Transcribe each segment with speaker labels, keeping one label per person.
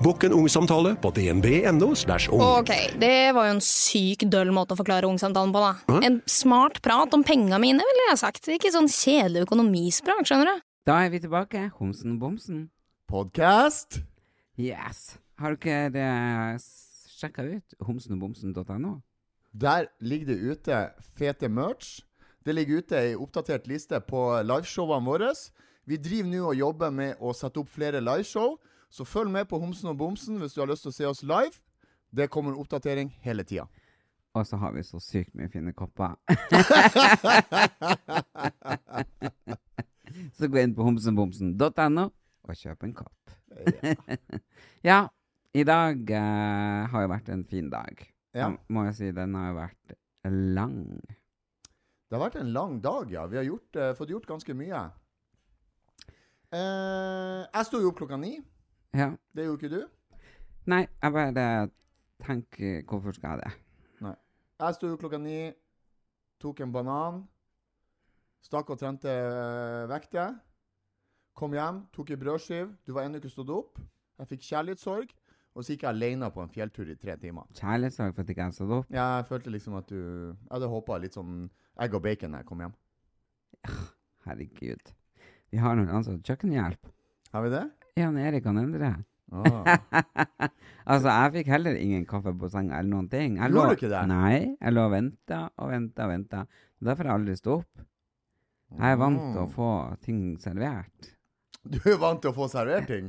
Speaker 1: Bokk en ungsamtale på dnb.no. /ung.
Speaker 2: Ok, det var jo en syk døll måte å forklare ungsamtalen på, da. En smart prat om penga mine, ville jeg ha sagt. Ikke sånn kjedelig økonomisprat, skjønner du.
Speaker 3: Da er vi tilbake, homsen og bomsen.
Speaker 4: Podcast?
Speaker 3: Yes! Har dere sjekka ut homsenogbomsen.no?
Speaker 4: Der ligger det ute fete merch. Det ligger ute ei oppdatert liste på liveshowene våre. Vi driver nå og jobber med å sette opp flere liveshow, så følg med på Homsen og Bomsen hvis du har lyst til å se oss live. Det kommer oppdatering hele tida.
Speaker 3: Og så har vi så sykt mye fine kopper. så gå inn på homsenbomsen.no og kjøp en kopp. ja, i dag eh, har jo vært en fin dag.
Speaker 4: Ja.
Speaker 3: Må jeg si, den har jo vært lang.
Speaker 4: Det har vært en lang dag, ja. Vi har gjort, eh, fått gjort ganske mye. Eh, jeg sto jo opp klokka ni.
Speaker 3: Ja.
Speaker 4: Det gjorde ikke du.
Speaker 3: Nei, jeg bare tenker Hvorfor skal jeg det?
Speaker 4: Jeg sto jo klokka ni, tok en banan, stakk og trente øh, vekter. Kom hjem, tok ei brødskive. Du var ennå ikke stått opp. Jeg fikk kjærlighetssorg. Og så gikk jeg alene på en fjelltur i tre timer.
Speaker 3: Kjærlighetssorg for at ikke jeg stod opp?
Speaker 4: Jeg følte liksom at du Jeg hadde håpa litt sånn egg og bacon når jeg kom hjem.
Speaker 3: Herregud. Vi har noen ansatt kjøkkenhjelp.
Speaker 4: Har vi det?
Speaker 3: Jan Erik og Endre.
Speaker 4: Ah.
Speaker 3: altså, jeg fikk heller ingen kaffe på senga eller noen ting. Jeg
Speaker 4: Gjorde du ikke det?
Speaker 3: Nei, jeg lå og venta og venta og venta. Derfor har jeg aldri stått opp. Jeg er vant til å
Speaker 4: Mm.
Speaker 3: få ting servert.
Speaker 4: Du er vant til å få servert ting.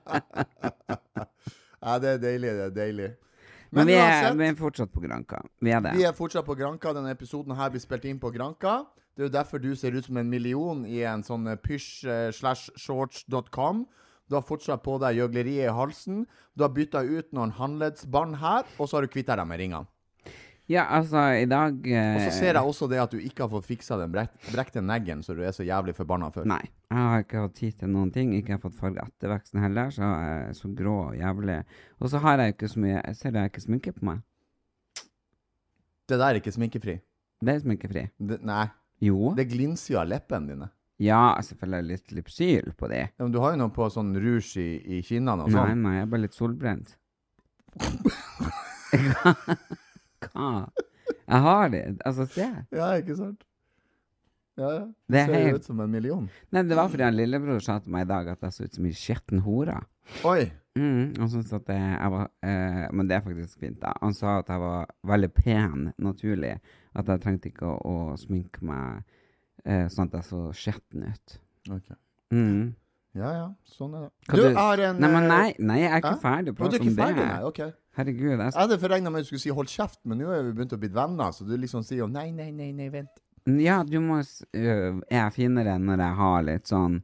Speaker 4: ja, det er deilig. Det er deilig.
Speaker 3: Men, vi, er, vi er fortsatt på Granka. Vi er det.
Speaker 4: Vi er fortsatt på Granka. Denne episoden her blir spilt inn på Granka. Det er jo derfor du ser ut som en million i en sånn eh, pysj eh, slash shorts.com. Du har fortsatt på deg gjøgleriet i halsen. Du har bytta ut noen håndleddsbånd her, og så har du kvitta deg med ringene.
Speaker 3: Ja, altså, i dag eh,
Speaker 4: Og så ser jeg også det at du ikke har fått fiksa den brek brekte neggen som du er så jævlig forbanna for.
Speaker 3: Nei. Jeg har ikke hatt tid til noen ting. Ikke har fått farga etterveksten heller, så jeg er så grå og jævlig. Og så har jeg ikke så mye Ser du jeg har ikke sminke på meg?
Speaker 4: Det der er ikke sminkefri.
Speaker 3: Det er sminkefri.
Speaker 4: Det, nei.
Speaker 3: Jo.
Speaker 4: Det glinser jo av leppene dine.
Speaker 3: Ja, selvfølgelig litt lipsyl på det.
Speaker 4: Ja, men du har jo noe på sånn rouge i, i kinnene
Speaker 3: Nei,
Speaker 4: og sånn.
Speaker 3: nei, jeg er bare litt solbrent. Hva? Jeg har det. Altså, se.
Speaker 4: Ja, ikke sant? Ja, ja.
Speaker 3: Det er
Speaker 4: ser jo
Speaker 3: helt-
Speaker 4: ut som en million.
Speaker 3: Nei, det var fordi han lillebror sa til meg i dag at jeg så ut som en skitten hore.
Speaker 4: Oi.
Speaker 3: Mm, han syntes at eh, jeg var eh, Men det er faktisk fint, da. Han sa at jeg var veldig pen naturlig. At jeg trengte ikke å, å sminke meg eh, sånn at jeg så skitten ut.
Speaker 4: Ok.
Speaker 3: Mm.
Speaker 4: Ja, ja. Sånn er det.
Speaker 3: Hva
Speaker 4: Du,
Speaker 3: du-
Speaker 4: jeg har en
Speaker 3: Nei, men
Speaker 4: eh,
Speaker 3: nei, nei, jeg er ikke
Speaker 4: hæ?
Speaker 3: ferdig å
Speaker 4: Å, Du
Speaker 3: prate
Speaker 4: er ikke
Speaker 3: om det.
Speaker 4: ferdig, nei? OK.
Speaker 3: Herregud, jeg
Speaker 4: Jeg hadde forregna med at du skulle si 'hold kjeft', men nå er vi begynt å bli venner, så du liksom sier jo 'nei, nei, nei, nei, vent'.
Speaker 3: Ja, du må s- øh, Jeg er finere når jeg har litt sånn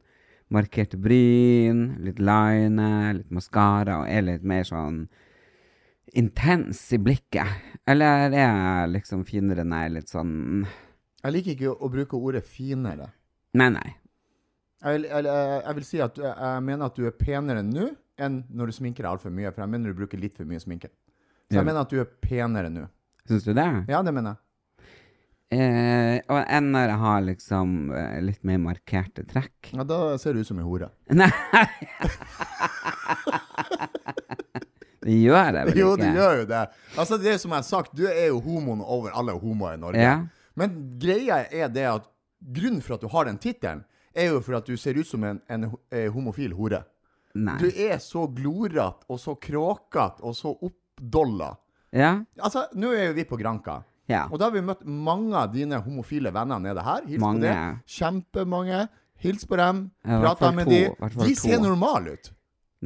Speaker 3: markerte bryn, litt liner, litt maskara og er litt mer sånn intens i blikket. Eller er jeg liksom finere når jeg er litt sånn
Speaker 4: Jeg liker ikke å bruke ordet 'finere'.
Speaker 3: Nei, nei.
Speaker 4: Jeg vil, jeg, jeg jeg vil si at du- jeg mener at du er penere nå enn når du sminker deg altfor mye, for jeg mener du bruker litt for mye sminke. Så
Speaker 3: Ja.
Speaker 4: jeg mener at du er penere nå.
Speaker 3: Syns du det?
Speaker 4: Ja, det mener jeg.
Speaker 3: Eh, og enn når jeg har liksom eh, litt mer markerte trekk.
Speaker 4: Ja, da ser du ut som ei hore.
Speaker 3: Nei! det gjør jeg vel ikke?
Speaker 4: Jo, du gjør jo det. Altså, det er som jeg har sagt, du er jo homoen over alle homoer i Norge.
Speaker 3: Ja.
Speaker 4: Men greia er det at grunnen for at du har den tittelen, er jo for at du ser ut som en, en, ho- eh, homofil hore.
Speaker 3: Nei.
Speaker 4: Du er så glorete og så kråkete og så oppdolla.
Speaker 3: Ja?
Speaker 4: Altså, nå er jo vi på Granka.
Speaker 3: Ja.
Speaker 4: Og da har vi møtt mange av dine homofile venner nede her. Hils
Speaker 3: Mange.
Speaker 4: på det. Kjempemange. Hils på dem,
Speaker 3: Ja, i hvert
Speaker 4: prata
Speaker 3: fall
Speaker 4: med
Speaker 3: to, i hvert
Speaker 4: dem.
Speaker 3: fall
Speaker 4: De
Speaker 3: to.
Speaker 4: ser normale ut.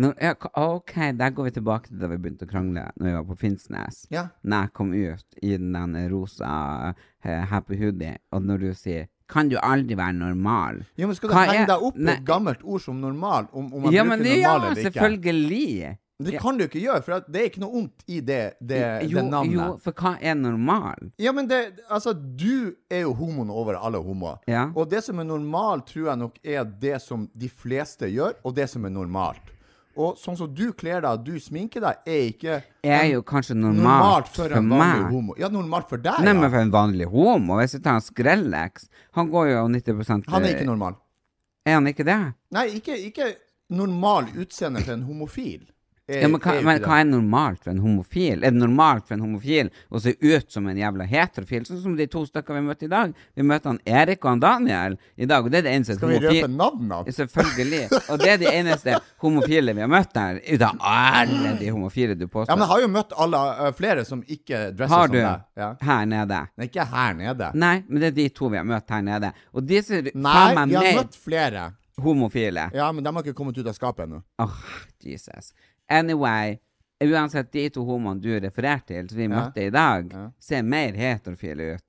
Speaker 3: Nå, ja, k- ok, der går vi tilbake til da vi begynte å krangle Når vi var på Finnsnes.
Speaker 4: Ja.
Speaker 3: Når jeg kom ut i den der rosa eh, happy hoodie, og når du sier 'Kan du aldri være normal'?
Speaker 4: Ja, men skal du
Speaker 3: Hva
Speaker 4: henge
Speaker 3: er-
Speaker 4: deg opp i
Speaker 3: Nei.
Speaker 4: et gammelt ord som normal, om, om man
Speaker 3: Ja, men
Speaker 4: bruker
Speaker 3: det
Speaker 4: normal
Speaker 3: ja,
Speaker 4: eller ikke?
Speaker 3: selvfølgelig!
Speaker 4: Det kan du ikke gjøre, for at det er ikke noe ondt i det, det,
Speaker 3: Jo,
Speaker 4: det navnet.
Speaker 3: jo, for hva er normal?
Speaker 4: Ja, men det, altså, du er jo homoen over alle homoer.
Speaker 3: Ja.
Speaker 4: Og det som er normalt, tror jeg nok er det som de fleste gjør, og det som er normalt. Og sånn som du kler deg, du sminker deg, er ikke
Speaker 3: Er
Speaker 4: en-
Speaker 3: jo kanskje
Speaker 4: normalt
Speaker 3: normalt,
Speaker 4: for
Speaker 3: for
Speaker 4: en vanlig
Speaker 3: meg.
Speaker 4: homo. Ja, normalt for deg,
Speaker 3: Nei, men
Speaker 4: ja.
Speaker 3: for en vanlig homo. Hvis jeg tar en Skrellex Han går jo 90
Speaker 4: Han er ikke normal.
Speaker 3: Er han ikke det?
Speaker 4: Nei, ikke, ikke normal utseende for en homofil. Er-
Speaker 3: Ja, men,
Speaker 4: er
Speaker 3: hva,
Speaker 4: jo
Speaker 3: men
Speaker 4: ikke
Speaker 3: hva
Speaker 4: det.
Speaker 3: er normalt for en homofil? Er det normalt for en homofil å se ut som en jævla heterofil? Sånn som de to stykker vi møtte i dag. Vi møtte han Erik og han Daniel i dag, og det er det eneste
Speaker 4: Skal vi
Speaker 3: homofi-
Speaker 4: røpe navnene?
Speaker 3: Selvfølgelig. Og det er de eneste homofile vi har møtt her. Ut av alle de homofile du
Speaker 4: Ja, men
Speaker 3: påstår.
Speaker 4: jeg har jo møtt alle, eh, flere som ikke dresser
Speaker 3: Har
Speaker 4: som
Speaker 3: du
Speaker 4: deg. Ja.
Speaker 3: her nede?
Speaker 4: Nei, ikke her nede.
Speaker 3: Nei, men det er de to vi har møtt her nede. Og disse er faen
Speaker 4: Nei,
Speaker 3: meg
Speaker 4: vi har
Speaker 3: mer
Speaker 4: møtt flere.
Speaker 3: homofile.
Speaker 4: Ja, men de har ikke kommet ut av skapet ennå.
Speaker 3: Åh, Jesus. Anyway, uansett de to homoene du refererte til, som vi møtte i dag, ser mer heterofile ut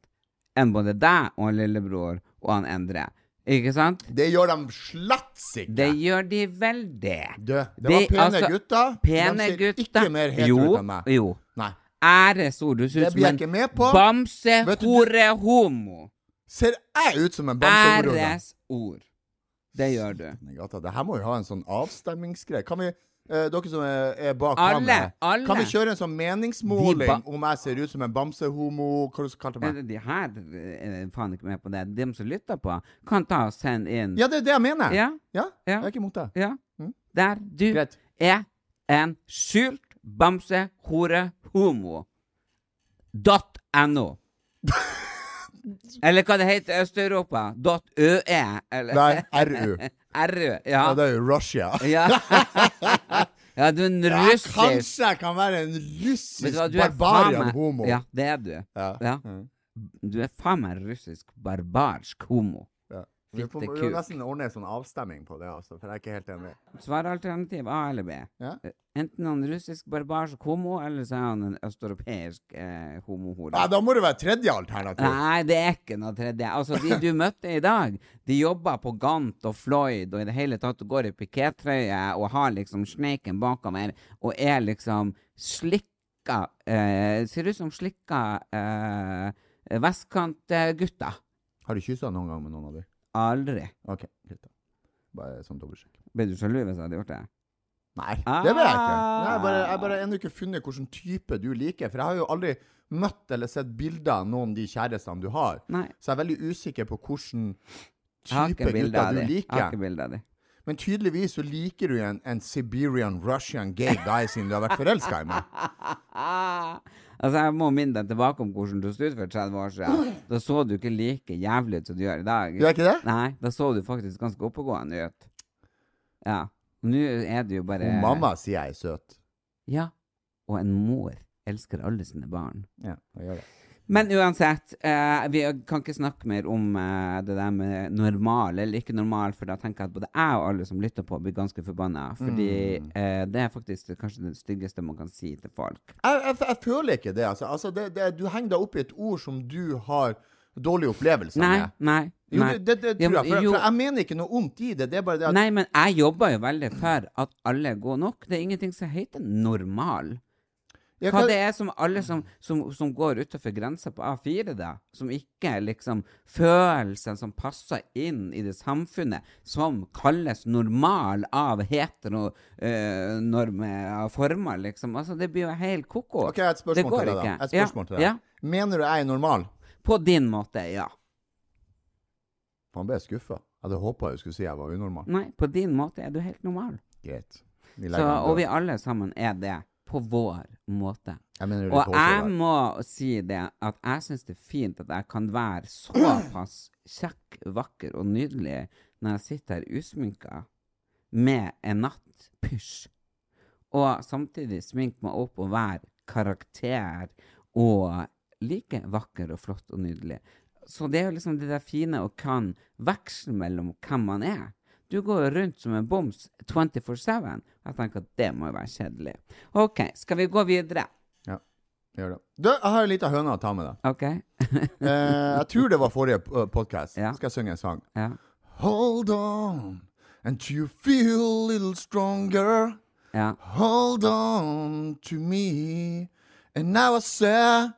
Speaker 3: enn både deg og han lillebror og han Endre. Ikke sant?
Speaker 4: Det gjør de slett ikke!
Speaker 3: Det gjør de veldig.
Speaker 4: Du, det
Speaker 3: De-
Speaker 4: var pene
Speaker 3: altså,
Speaker 4: gutter.
Speaker 3: Pene
Speaker 4: de ser
Speaker 3: gutter.
Speaker 4: ikke mer hetero
Speaker 3: jo,
Speaker 4: ut enn meg.
Speaker 3: Jo.
Speaker 4: Nei.
Speaker 3: Æresord. Du
Speaker 4: Det
Speaker 3: synes
Speaker 4: blir
Speaker 3: som
Speaker 4: jeg ikke
Speaker 3: en
Speaker 4: med på.
Speaker 3: bamse,
Speaker 4: Vet du, du-
Speaker 3: hore, homo.
Speaker 4: Ser jeg ut som en bamsehorode?
Speaker 3: Æresord. Det gjør du.
Speaker 4: Nei, gata, Det her må jo ha en sånn avstemmingsgreie. Kan vi eh, dere som er, er bak
Speaker 3: Alle,
Speaker 4: kameraet,
Speaker 3: alle.
Speaker 4: kan vi kjøre en sånn
Speaker 3: De
Speaker 4: meningsmåling
Speaker 3: ba- Eh,
Speaker 4: om jeg ser ut som en bamsehomo? Hva du kalte du meg?
Speaker 3: Men De her eh, er faen ikke med på det. De som lytter på, kan ta og sende inn
Speaker 4: Ja, det er det jeg mener!
Speaker 3: Ja. Ja.
Speaker 4: Jeg er ikke imot det.
Speaker 3: Ja. Der du
Speaker 4: Mm. Greit.
Speaker 3: er en skjult bamse, hore, homo. Dot no. eller hva det heter i Øst-Europa. Dot øe, eller
Speaker 4: Nei, RU.
Speaker 3: RØ.
Speaker 4: Ja,
Speaker 3: Ja.
Speaker 4: det er jo Russia.
Speaker 3: Ja. ja, du er en
Speaker 4: Ja,
Speaker 3: russisk
Speaker 4: kanskje jeg kan være en
Speaker 3: Vet du
Speaker 4: russisk
Speaker 3: hva, du er faen
Speaker 4: barbarian
Speaker 3: meg-
Speaker 4: homo.
Speaker 3: Ja, det er du.
Speaker 4: Ja. Mm.
Speaker 3: Ja. Du er faen meg russisk barbarsk homo.
Speaker 4: Ja. Vi får-
Speaker 3: Fittekuk.
Speaker 4: vi må nesten ordne en sånn avstemming på det, altså, for jeg er ikke helt enig.
Speaker 3: Svar alternativ A eller B. Eh,
Speaker 4: Ja.
Speaker 3: Enten han russisk barbarsk homo, eller så er han en østeuropeisk eh, homohore.
Speaker 4: Nei, da må det være tredje alternativ.
Speaker 3: Nei, det er ikke noe tredje. Altså, De du møtte i dag, de jobber på Gant og Floyd og i det hele tatt og går i pikétrøye og har liksom sneiken bakover og er liksom slikka eh, Ser ut som slikka eh, vestkantgutter.
Speaker 4: Har du kyssa noen gang med noen av de?
Speaker 3: Aldri.
Speaker 4: OK, greit da. Bare sånn dobbeltsjekk.
Speaker 3: Ble du sjalu hvis jeg hadde gjort det?
Speaker 4: Nei,
Speaker 3: Ah.
Speaker 4: det vil jeg ikke. Nei, jeg bare, jeg bare ennå ikke funnet hvilken type du liker. For jeg har jo aldri møtt eller sett bilder av noen av de kjærestene du har.
Speaker 3: Nei.
Speaker 4: Så jeg er veldig usikker på hvilken
Speaker 3: Jeg har
Speaker 4: type
Speaker 3: ikke bilde
Speaker 4: gutter
Speaker 3: av
Speaker 4: du
Speaker 3: de. Jeg har
Speaker 4: liker.
Speaker 3: ikke bilde av de.
Speaker 4: Men tydeligvis så liker du en, en Siberian Russian gay guy siden du har vært forelska i meg.
Speaker 3: Altså, jeg må minne deg tilbake om hvordan du stod for 30 år siden. Da så du ikke like jævlig ut som du gjør i dag.
Speaker 4: Gjør jeg ikke det?
Speaker 3: Nei, da så du faktisk ganske oppegående ut. Ja. Nå er det jo bare
Speaker 4: Og mamma sier jeg er søt.
Speaker 3: Ja. Og en mor elsker alle sine barn.
Speaker 4: Ja, jeg gjør det.
Speaker 3: Men uansett, eh, vi kan ikke snakke mer om eh, det der med normal eller ikke normal, for da tenker jeg at både jeg og alle som lytter på, blir ganske forbanna. Fordi eh, det er faktisk kanskje det styggeste man kan si til folk.
Speaker 4: jeg, jeg, jeg føler ikke det, altså. altså det, det, du henger deg opp i et ord som du har dårlige opplevelser
Speaker 3: Nei,
Speaker 4: med.
Speaker 3: nei.
Speaker 4: Jo,
Speaker 3: nei.
Speaker 4: det, det, det
Speaker 3: Ja,
Speaker 4: tror
Speaker 3: men
Speaker 4: jeg. For,
Speaker 3: jo.
Speaker 4: for jeg mener ikke noe ondt i det. Det er bare det at
Speaker 3: Nei, men jeg jobber jo veldig for at alle er gode nok. Det er ingenting som heter normal.
Speaker 4: jeg,
Speaker 3: Hva
Speaker 4: kan-
Speaker 3: det er som alle som, som, som går utenfor grensa på A4, da, som ikke er liksom følelsen som passer inn i det samfunnet som kalles normal av heteronorme former, liksom. Altså, det blir jo helt ko-ko.
Speaker 4: OK, jeg har et
Speaker 3: Det
Speaker 4: spørsmål
Speaker 3: går
Speaker 4: til deg, da.
Speaker 3: ikke.
Speaker 4: Et spørsmål til deg.
Speaker 3: Ja,
Speaker 4: Mener du jeg er normal?
Speaker 3: ja. På din måte, ja.
Speaker 4: Faen, ble jeg skuffa. Jeg hadde håpa du skulle si jeg var unormal.
Speaker 3: Nei, på din måte er du helt normal.
Speaker 4: Greit. Vi
Speaker 3: Så,
Speaker 4: legger den
Speaker 3: og vi
Speaker 4: død.
Speaker 3: alle sammen er det. På vår måte.
Speaker 4: Jeg mener du er
Speaker 3: Og
Speaker 4: litt hårsår
Speaker 3: jeg
Speaker 4: der.
Speaker 3: må si det at jeg syns det er fint at jeg kan være såpass kjekk, vakker og nydelig når jeg sitter her usminka med en nattpysj, og samtidig sminke meg opp og være karakter og like vakker og flott og nydelig. Så det er jo liksom det der fine å kan veksle mellom hvem man er. Du går jo rundt som en boms 24-7. Jeg tenker at det må jo være kjedelig. OK, skal vi gå videre?
Speaker 4: Ja, gjør det. Du, jeg har en liten høne å ta med deg.
Speaker 3: OK?
Speaker 4: Eh, jeg tror det var forrige podkast.
Speaker 3: Ja.
Speaker 4: Skal jeg synge en sang?
Speaker 3: Ja.
Speaker 4: Hold on until you feel a little stronger.
Speaker 3: ja.
Speaker 4: Hold on to me And now I say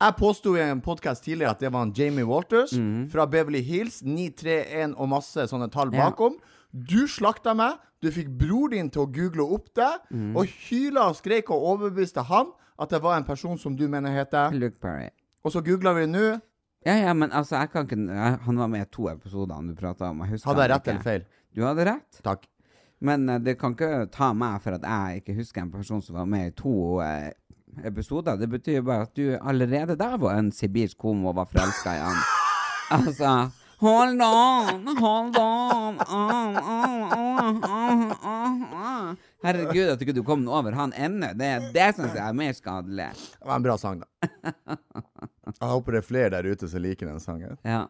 Speaker 4: Jeg påsto i en podcast tidligere at det var en Jamie Walters fra Beverly Hills, 931 og masse sånne tall
Speaker 3: Mhm. Ja.
Speaker 4: bakom. Du slakta meg, du fikk bror din til å google opp deg,
Speaker 3: Mhm.
Speaker 4: og hyla og skreik og overbeviste han at det var en person som du mener heter.
Speaker 3: Luke Perry.
Speaker 4: Og så googla vi nå.
Speaker 3: Ja, ja, men altså, jeg kan ikke jeg, Han var med i to episoder han du prata om. Jeg husker
Speaker 4: Hadde jeg
Speaker 3: han
Speaker 4: rett
Speaker 3: ikke.
Speaker 4: eller feil?
Speaker 3: Du hadde rett.
Speaker 4: Takk.
Speaker 3: Men eh, det kan ikke ta meg for at jeg ikke husker en person som var med i to eh, episoder. Det betyr jo bare at du allerede der var en sibirsk homo og var forelska i han. Altså Hold on, hold on ah, ah, ah, ah, ah, ah. Herregud, at ikke du kom over han ennå. Det, det syns jeg er mer skadelig.
Speaker 4: Det var en bra sang, da. Jeg håper det er flere der ute som liker den sangen.
Speaker 3: Ja.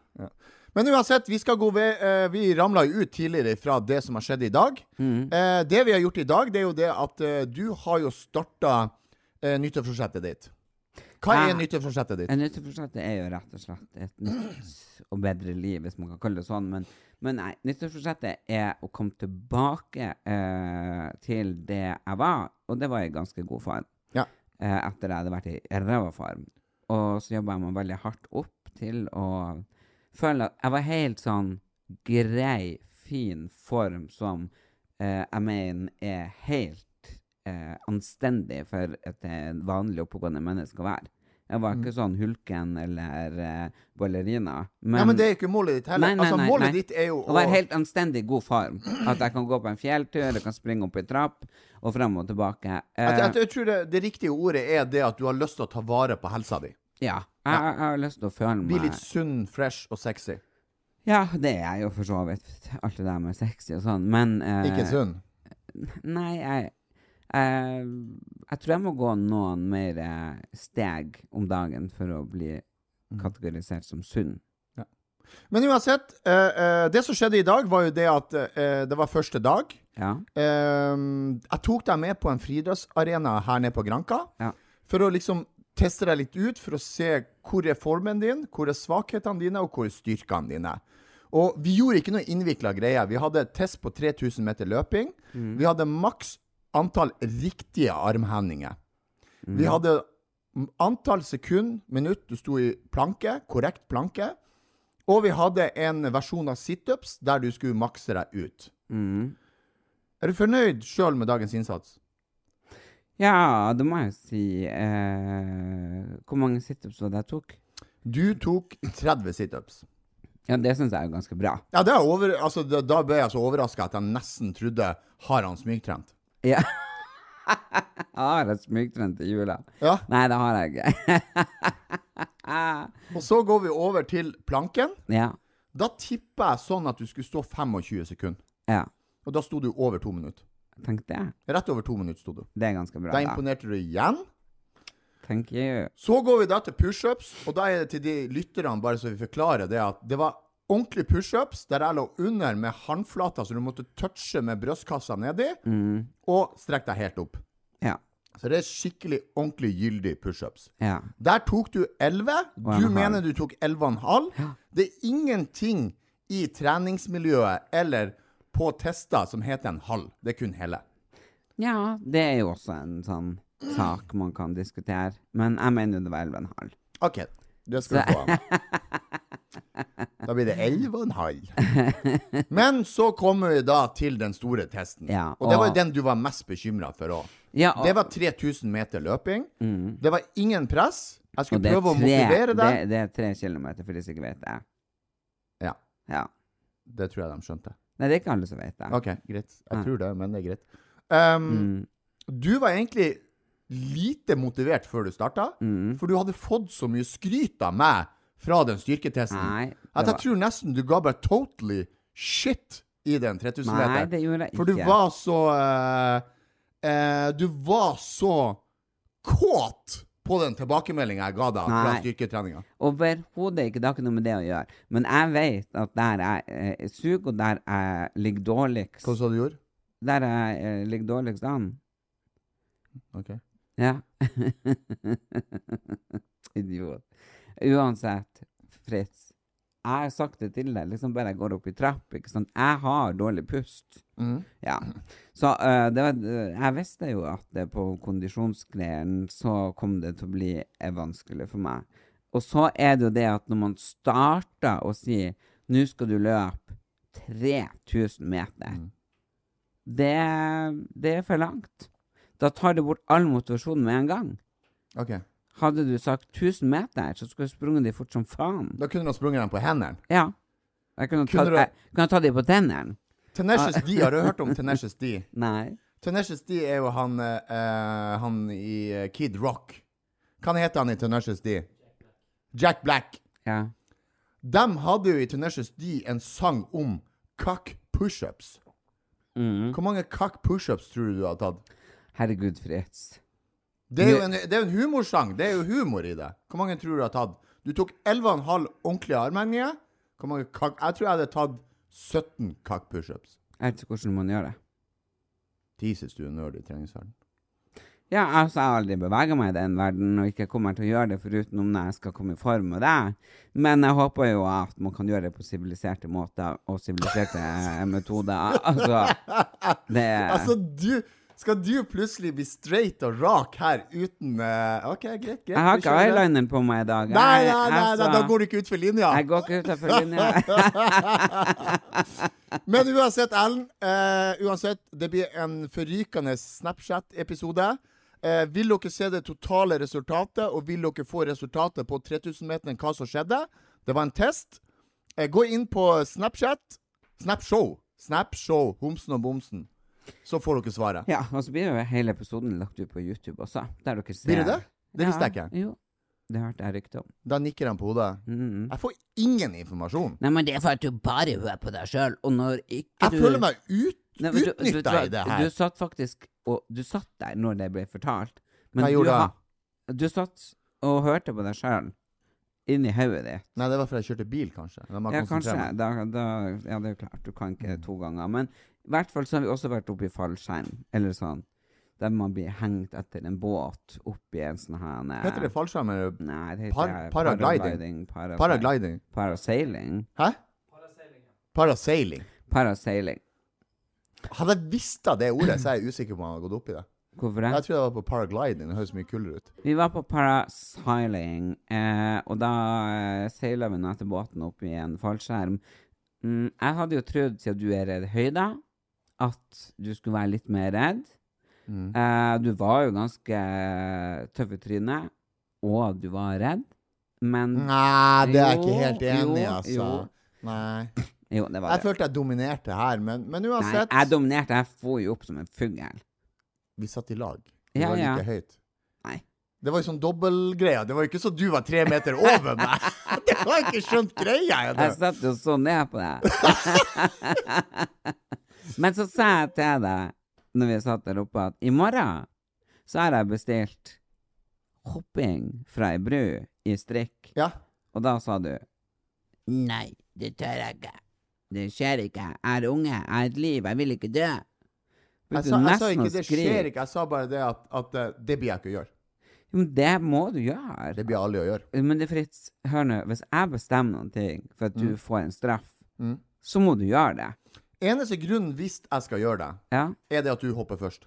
Speaker 4: Men uansett, vi skal gå ved eh, Vi ramla jo ut tidligere fra det som har skjedd i dag.
Speaker 3: Mm.
Speaker 4: Eh, det vi har gjort i dag, det er jo det at eh, du har jo starta uh, nytteforsettet ditt. Hva
Speaker 3: Ja.
Speaker 4: er nytteforsettet ditt?
Speaker 3: Et nytt nyttårsforsett er jo rett og slett et nytt og bedre liv, hvis man kan kalle det sånn. Men, men nei, nyttårsforsettet er å komme tilbake eh, til det jeg var, og det var jeg i ganske god form.
Speaker 4: Ja.
Speaker 3: Eh, etter jeg hadde vært i ræva form. Og så jobba jeg meg veldig hardt opp til å føle at jeg var helt sånn grei, fin form som eh, jeg mener er helt eh, anstendig for et eh, vanlig oppegående menneske å være. Jeg var ikke sånn hulken eller eh, ballerina. Men,
Speaker 4: Mm. ja, men det er jo ikke målet ditt heller.
Speaker 3: Nei, nei,
Speaker 4: altså,
Speaker 3: nei,
Speaker 4: målet
Speaker 3: nei.
Speaker 4: ditt er jo
Speaker 3: å være helt anstendig god form. At jeg kan gå på en fjelltur, jeg kan springe opp en trapp, og frem og tilbake. Eh,
Speaker 4: at, at Jeg tror det, det riktige ordet er det at du har lyst til å ta vare på helsa di.
Speaker 3: Eh, ja. Jeg, jeg har lyst til å føle
Speaker 4: Bli
Speaker 3: meg
Speaker 4: litt sunn, fresh og sexy.
Speaker 3: Ja, det er jeg jo for så vidt. Alt det der med sexy og sånn, men eh,
Speaker 4: Ikke sunn.
Speaker 3: Nei, jeg eh, Jeg tror jeg må gå noen mer eh, steg om dagen for å bli Mm. kategorisert som sunn.
Speaker 4: Men uansett, eh, eh, det som skjedde i dag, var jo det at eh, det var første dag.
Speaker 3: Ja.
Speaker 4: Ehm, jeg tok deg med på en friidrettsarena her nede på Granka.
Speaker 3: Ja.
Speaker 4: For å liksom teste deg litt ut, for å se hvor er formen din, hvor er svakhetene dine, og hvor er styrkene dine. Og vi gjorde ikke noe innvikla greier. Vi hadde et test på 3000 meter løping. Vi hadde maks antall riktige armhendinger. Vi hadde m- antall sekund, minutt, du sto i planke, korrekt planke. Og vi hadde en versjon av situps der du skulle makse deg ut.
Speaker 3: Mm.
Speaker 4: Er du fornøyd sjøl med dagens innsats?
Speaker 3: Ja, det må jeg jo si. Eh, hvor mange situps var det jeg tok?
Speaker 4: Du tok 30 situps.
Speaker 3: Ja, det syns jeg er jo ganske bra.
Speaker 4: Ja, det er over, altså, da, da ble jeg så overraska at jeg nesten trodde Har han smygtrent?
Speaker 3: Ja. Har jeg smygtrent i jula?
Speaker 4: Ja.
Speaker 3: Nei, det har jeg ikke.
Speaker 4: Og så går vi over til planken.
Speaker 3: ja.
Speaker 4: Da tippa jeg sånn at du skulle stå 25 sekunder.
Speaker 3: ja.
Speaker 4: Og da sto du over to minutter.
Speaker 3: Tenk det.
Speaker 4: Rett over to minutter sto du.
Speaker 3: Det er ganske bra.
Speaker 4: Da
Speaker 3: da.
Speaker 4: imponerte du igjen.
Speaker 3: Thank you.
Speaker 4: Så går vi da til pushups, og da er det til de lytterne, bare så vi forklarer det, at det var ordentlige pushups der jeg lå under med håndflata, så du måtte touche med brystkassa nedi, og strekk deg helt opp.
Speaker 3: Ja.
Speaker 4: Så det er skikkelig ordentlig gyldig pushups.
Speaker 3: Ja.
Speaker 4: Der tok du 11.
Speaker 3: Og en
Speaker 4: Du
Speaker 3: halv.
Speaker 4: mener du tok 11,5. Det er ingenting i treningsmiljøet eller på tester som heter en halv. Det er kun hele.
Speaker 3: Ja, det er jo også en sånn sak man kan diskutere. Men jeg mener jo det var 11,5.
Speaker 4: OK. Det skal du få. Anna. Da blir det 11,5. Men så kommer vi da til den store testen.
Speaker 3: Ja,
Speaker 4: og, det var
Speaker 3: og-
Speaker 4: jo den du var mest bekymra for òg.
Speaker 3: Ja, og,
Speaker 4: Det var 3000 meter løping. Det var ingen press. Jeg
Speaker 3: og
Speaker 4: skulle
Speaker 3: det er
Speaker 4: prøve å
Speaker 3: tre-
Speaker 4: motivere deg.
Speaker 3: Det, det er tre kilometer, for de som ikke vet det.
Speaker 4: Ja,
Speaker 3: Ja.
Speaker 4: det tror jeg de skjønte.
Speaker 3: Nei, det er ikke alle som vet det.
Speaker 4: OK, greit.
Speaker 3: Ja.
Speaker 4: Jeg tror det, men det er greit. Um,
Speaker 3: Mm,
Speaker 4: Du var egentlig lite motivert før du starta,
Speaker 3: mm.
Speaker 4: for du hadde fått så mye skryt av meg fra den styrketesten
Speaker 3: Nei,
Speaker 4: at
Speaker 3: det
Speaker 4: jeg tror nesten du ga bare totally shit i den 3000
Speaker 3: var, nei,
Speaker 4: meter.
Speaker 3: det gjorde jeg ikke.
Speaker 4: For du var så eh, eh, Du var så kåt på den tilbakemeldinga jeg ga deg fra
Speaker 3: Nei.
Speaker 4: styrketreninga.
Speaker 3: Overhodet ikke. Det har ikke noe med det å gjøre. Men jeg vet at der jeg eh, suger, og der jeg ligger
Speaker 4: Hva
Speaker 3: dårligst
Speaker 4: sa du gjorde?
Speaker 3: Der jeg eh, ligger dårligst an.
Speaker 4: Ok.
Speaker 3: Ja. Idiot. Uansett, Fritz. Jeg har sagt det til deg, liksom bare jeg går opp i trapp. Ikke sant? Jeg har dårlig pust.
Speaker 4: Mm.
Speaker 3: Ja. Så eh, det var, jeg visste jo at det på kondisjonsgreiene så kom det til å bli eh, vanskelig for meg. Og så er det jo det at når man starter å si nå skal du løpe 3000 meter,
Speaker 4: Mm.
Speaker 3: det, det er for langt. Da tar det bort all motivasjon med en gang.
Speaker 4: Ok.
Speaker 3: Hadde du sagt 1000 meter, så skulle jeg sprunget de fort som faen.
Speaker 4: Da kunne du ha sprunget den på hendene.
Speaker 3: Ja. Jeg kunne,
Speaker 4: Kunne
Speaker 3: tatt,
Speaker 4: du-
Speaker 3: jeg, kunne tatt de på tennene.
Speaker 4: Tenacious D, har du hørt om Tenacious D?
Speaker 3: Nei.
Speaker 4: Tenacious D er jo han, eh, han i eh, Kid Rock. Hva heter han i Tenacious D? Jack Black.
Speaker 3: Ja.
Speaker 4: De hadde jo i Tenacious D en sang om cock pushups. Hvor mange cock pushups tror du du har tatt?
Speaker 3: Herregud, Fritz.
Speaker 4: Det er jo en, det er jo en humorsang. Det er jo humor i det. Hvor mange tror du har tatt? Du tok 11,5 ordentlige armhenger. Hvor mange cock Jeg tror jeg hadde tatt 17 cock pushups.
Speaker 3: Jeg vet ikke hvordan man gjør det.
Speaker 4: Jesus, du er nerd i treningsverdenen.
Speaker 3: Ja, altså, jeg har aldri beveget meg i den verden, og ikke kommer til å gjøre det foruten om når jeg skal komme i form og det. Men jeg håper jo at man kan gjøre det på siviliserte måter og siviliserte eh, metoder. Altså, det
Speaker 4: Altså, du Skal du plutselig bli straight og rak her uten eh, OK, greit, greit.
Speaker 3: Jeg har
Speaker 4: vi
Speaker 3: ikke
Speaker 4: kjører.
Speaker 3: eyeliner på meg i dag.
Speaker 4: Nei, nei,
Speaker 3: Jeg-
Speaker 4: nei, nei,
Speaker 3: altså,
Speaker 4: da går du ikke utfor linja.
Speaker 3: Jeg går ikke utenfor linja.
Speaker 4: Men uansett, Ellen, eh, uansett, det blir en forrykende Snapchat-episode. Eh, vil dere se det totale resultatet, og vil dere få resultatet på 3000-meteren, hva som skjedde? Det var en test. Eh, gå inn på Snapchat. Snapshow. Snapshow, Homsen og Bomsen. Så får dere svaret.
Speaker 3: Ja, og så blir jo hele episoden lagt ut på YouTube også. Der dere ser.
Speaker 4: Blir det det? Det visste jeg
Speaker 3: Ja,
Speaker 4: ikke.
Speaker 3: Jo, det hørte jeg rykte om.
Speaker 4: Da nikker han på hodet.
Speaker 3: Mm.
Speaker 4: Jeg får ingen informasjon.
Speaker 3: Nei, men det er for at du bare hører på deg sjøl, og når ikke
Speaker 4: Jeg føler meg ut,
Speaker 3: Nei, men du- du-
Speaker 4: utnytta i det
Speaker 3: Du
Speaker 4: her.
Speaker 3: satt faktisk og Du satt der når det ble fortalt.
Speaker 4: Hva
Speaker 3: du,
Speaker 4: gjorde jeg?
Speaker 3: ha- du satt og hørte på deg sjøl inni hodet ditt.
Speaker 4: Nei, det var fordi jeg kjørte bil, kanskje. Da må
Speaker 3: Ja,
Speaker 4: jeg konsentrere
Speaker 3: kanskje.
Speaker 4: meg.
Speaker 3: Da, da, ja, det er jo klart. Du kan ikke to ganger. Men i hvert fall så har vi også vært oppe i fallskjerm, eller sånn. Der man blir hengt etter en båt oppi en sånn her ne-
Speaker 4: Heter det fallskjerm eller
Speaker 3: Nei, Mm, det heter
Speaker 4: Par- paragliding.
Speaker 3: para-
Speaker 4: Paragliding.
Speaker 3: Parasailing.
Speaker 4: Hæ? Parasailing.
Speaker 3: Parasailing.
Speaker 4: Hadde jeg visst av det ordet, så er jeg usikker på om jeg hadde gått opp i det.
Speaker 3: Hvorfor det?
Speaker 4: Jeg tror det var på paragliding. Det høres mye kulere ut.
Speaker 3: Vi var på parasailing, eh, og da eh, seila vi nå etter båten opp i en fallskjerm. Mm, jeg hadde jo trodd, siden du er redd høyder, at du skulle være litt mer redd.
Speaker 4: Mm.
Speaker 3: Eh, du var jo ganske eh, tøff i trynet, og du var redd, men
Speaker 4: Nei, det er jeg
Speaker 3: Jo,
Speaker 4: ikke helt enig i,
Speaker 3: jo,
Speaker 4: altså.
Speaker 3: jo.
Speaker 4: Nei.
Speaker 3: Jo, det var
Speaker 4: Jeg
Speaker 3: det.
Speaker 4: følte jeg dominerte her, men, men
Speaker 3: Nei, jeg
Speaker 4: uansett
Speaker 3: dominerte. Jeg for jo opp som en fugl.
Speaker 4: Vi satt i lag. Vi
Speaker 3: Ja,
Speaker 4: var
Speaker 3: ja.
Speaker 4: like høyt.
Speaker 3: Nei.
Speaker 4: Det var jo sånn dobbeltgreia. Det var jo ikke så du var tre meter over meg. Det var ikke skjønt greia.
Speaker 3: Jeg
Speaker 4: jeg, Det.
Speaker 3: satt jo så ned på deg. Men så sa jeg til deg når vi satt der oppe, at i morgen så har jeg bestilt hopping fra ei bru i strikk.
Speaker 4: Ja.
Speaker 3: Og da sa du Nei, det tør jeg ikke. Det skjer ikke. Jeg er unge. Jeg har et liv. Jeg vil ikke dø.
Speaker 4: Jeg
Speaker 3: Begynte
Speaker 4: sa, jeg sa
Speaker 3: nesten å
Speaker 4: ikke det skjer
Speaker 3: skrike.
Speaker 4: ikke, jeg sa bare det at, at eh, det blir jeg ikke å gjøre.
Speaker 3: Jo, Men det må du gjøre.
Speaker 4: Det blir jeg aldri å gjøre.
Speaker 3: Men det er Fritz, hør nå. Hvis jeg bestemmer noen ting for at du får en straff,
Speaker 4: Mm.
Speaker 3: så må du gjøre det.
Speaker 4: Eneste grunnen hvis jeg skal gjøre det,
Speaker 3: Ja.
Speaker 4: er det at du hopper først.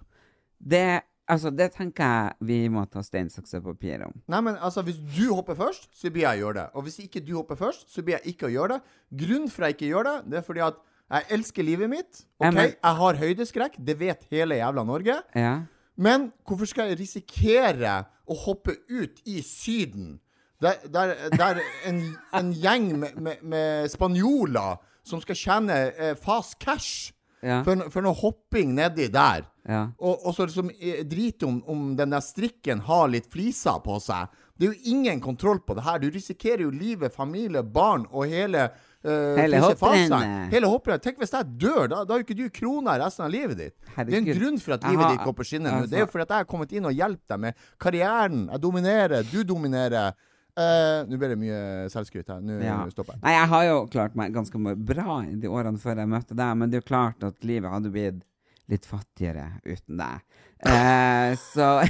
Speaker 3: Det, altså, det tenker jeg vi må ta stein, saks og papir om.
Speaker 4: Nei, men altså, Hvis du hopper først, så blir jeg å gjøre det. Og hvis ikke du hopper først, så blir jeg ikke å gjøre det. Grunnen for jeg ikke gjør det, det er fordi at jeg elsker livet mitt.
Speaker 3: Ja,
Speaker 4: ok?
Speaker 3: men-
Speaker 4: Jeg har høydeskrekk. Det vet hele jævla Norge.
Speaker 3: Ja.
Speaker 4: Men hvorfor skal jeg risikere å hoppe ut i Syden? Der, der, der en, en gjeng med, med, med spanjoler som skal tjene eh, fast cash
Speaker 3: Ja.
Speaker 4: for, no- for noe hopping nedi der.
Speaker 3: Ja.
Speaker 4: Og, og så liksom eh, drit om, om den der strikken har litt fliser på seg. Det er jo ingen kontroll på det her. Du risikerer jo livet, familie, barn og hele eh,
Speaker 3: Hele eh.
Speaker 4: fisefaseren.
Speaker 3: hopprennet.
Speaker 4: Hele hopprennet. Tenk hvis jeg dør, da, da har jo ikke du krona resten av livet ditt. Det er
Speaker 3: Herregud.
Speaker 4: en grunn for at
Speaker 3: Jeg
Speaker 4: livet
Speaker 3: har-
Speaker 4: ditt går på skinner nå.
Speaker 3: altså-
Speaker 4: Det er jo fordi at jeg har kommet inn og hjulpet deg med karrieren. Jeg dominerer, du dominerer. Eh, nå ble det mye selvskryt her. Nå
Speaker 3: Ja.
Speaker 4: stopper jeg.
Speaker 3: Nei, jeg har jo klart meg ganske mye bra i de årene før jeg møtte deg, men det er jo klart at livet hadde blitt litt fattigere uten deg. Eh, så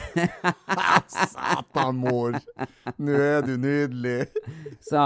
Speaker 4: Satan, mor! Nå er du nydelig.
Speaker 3: Så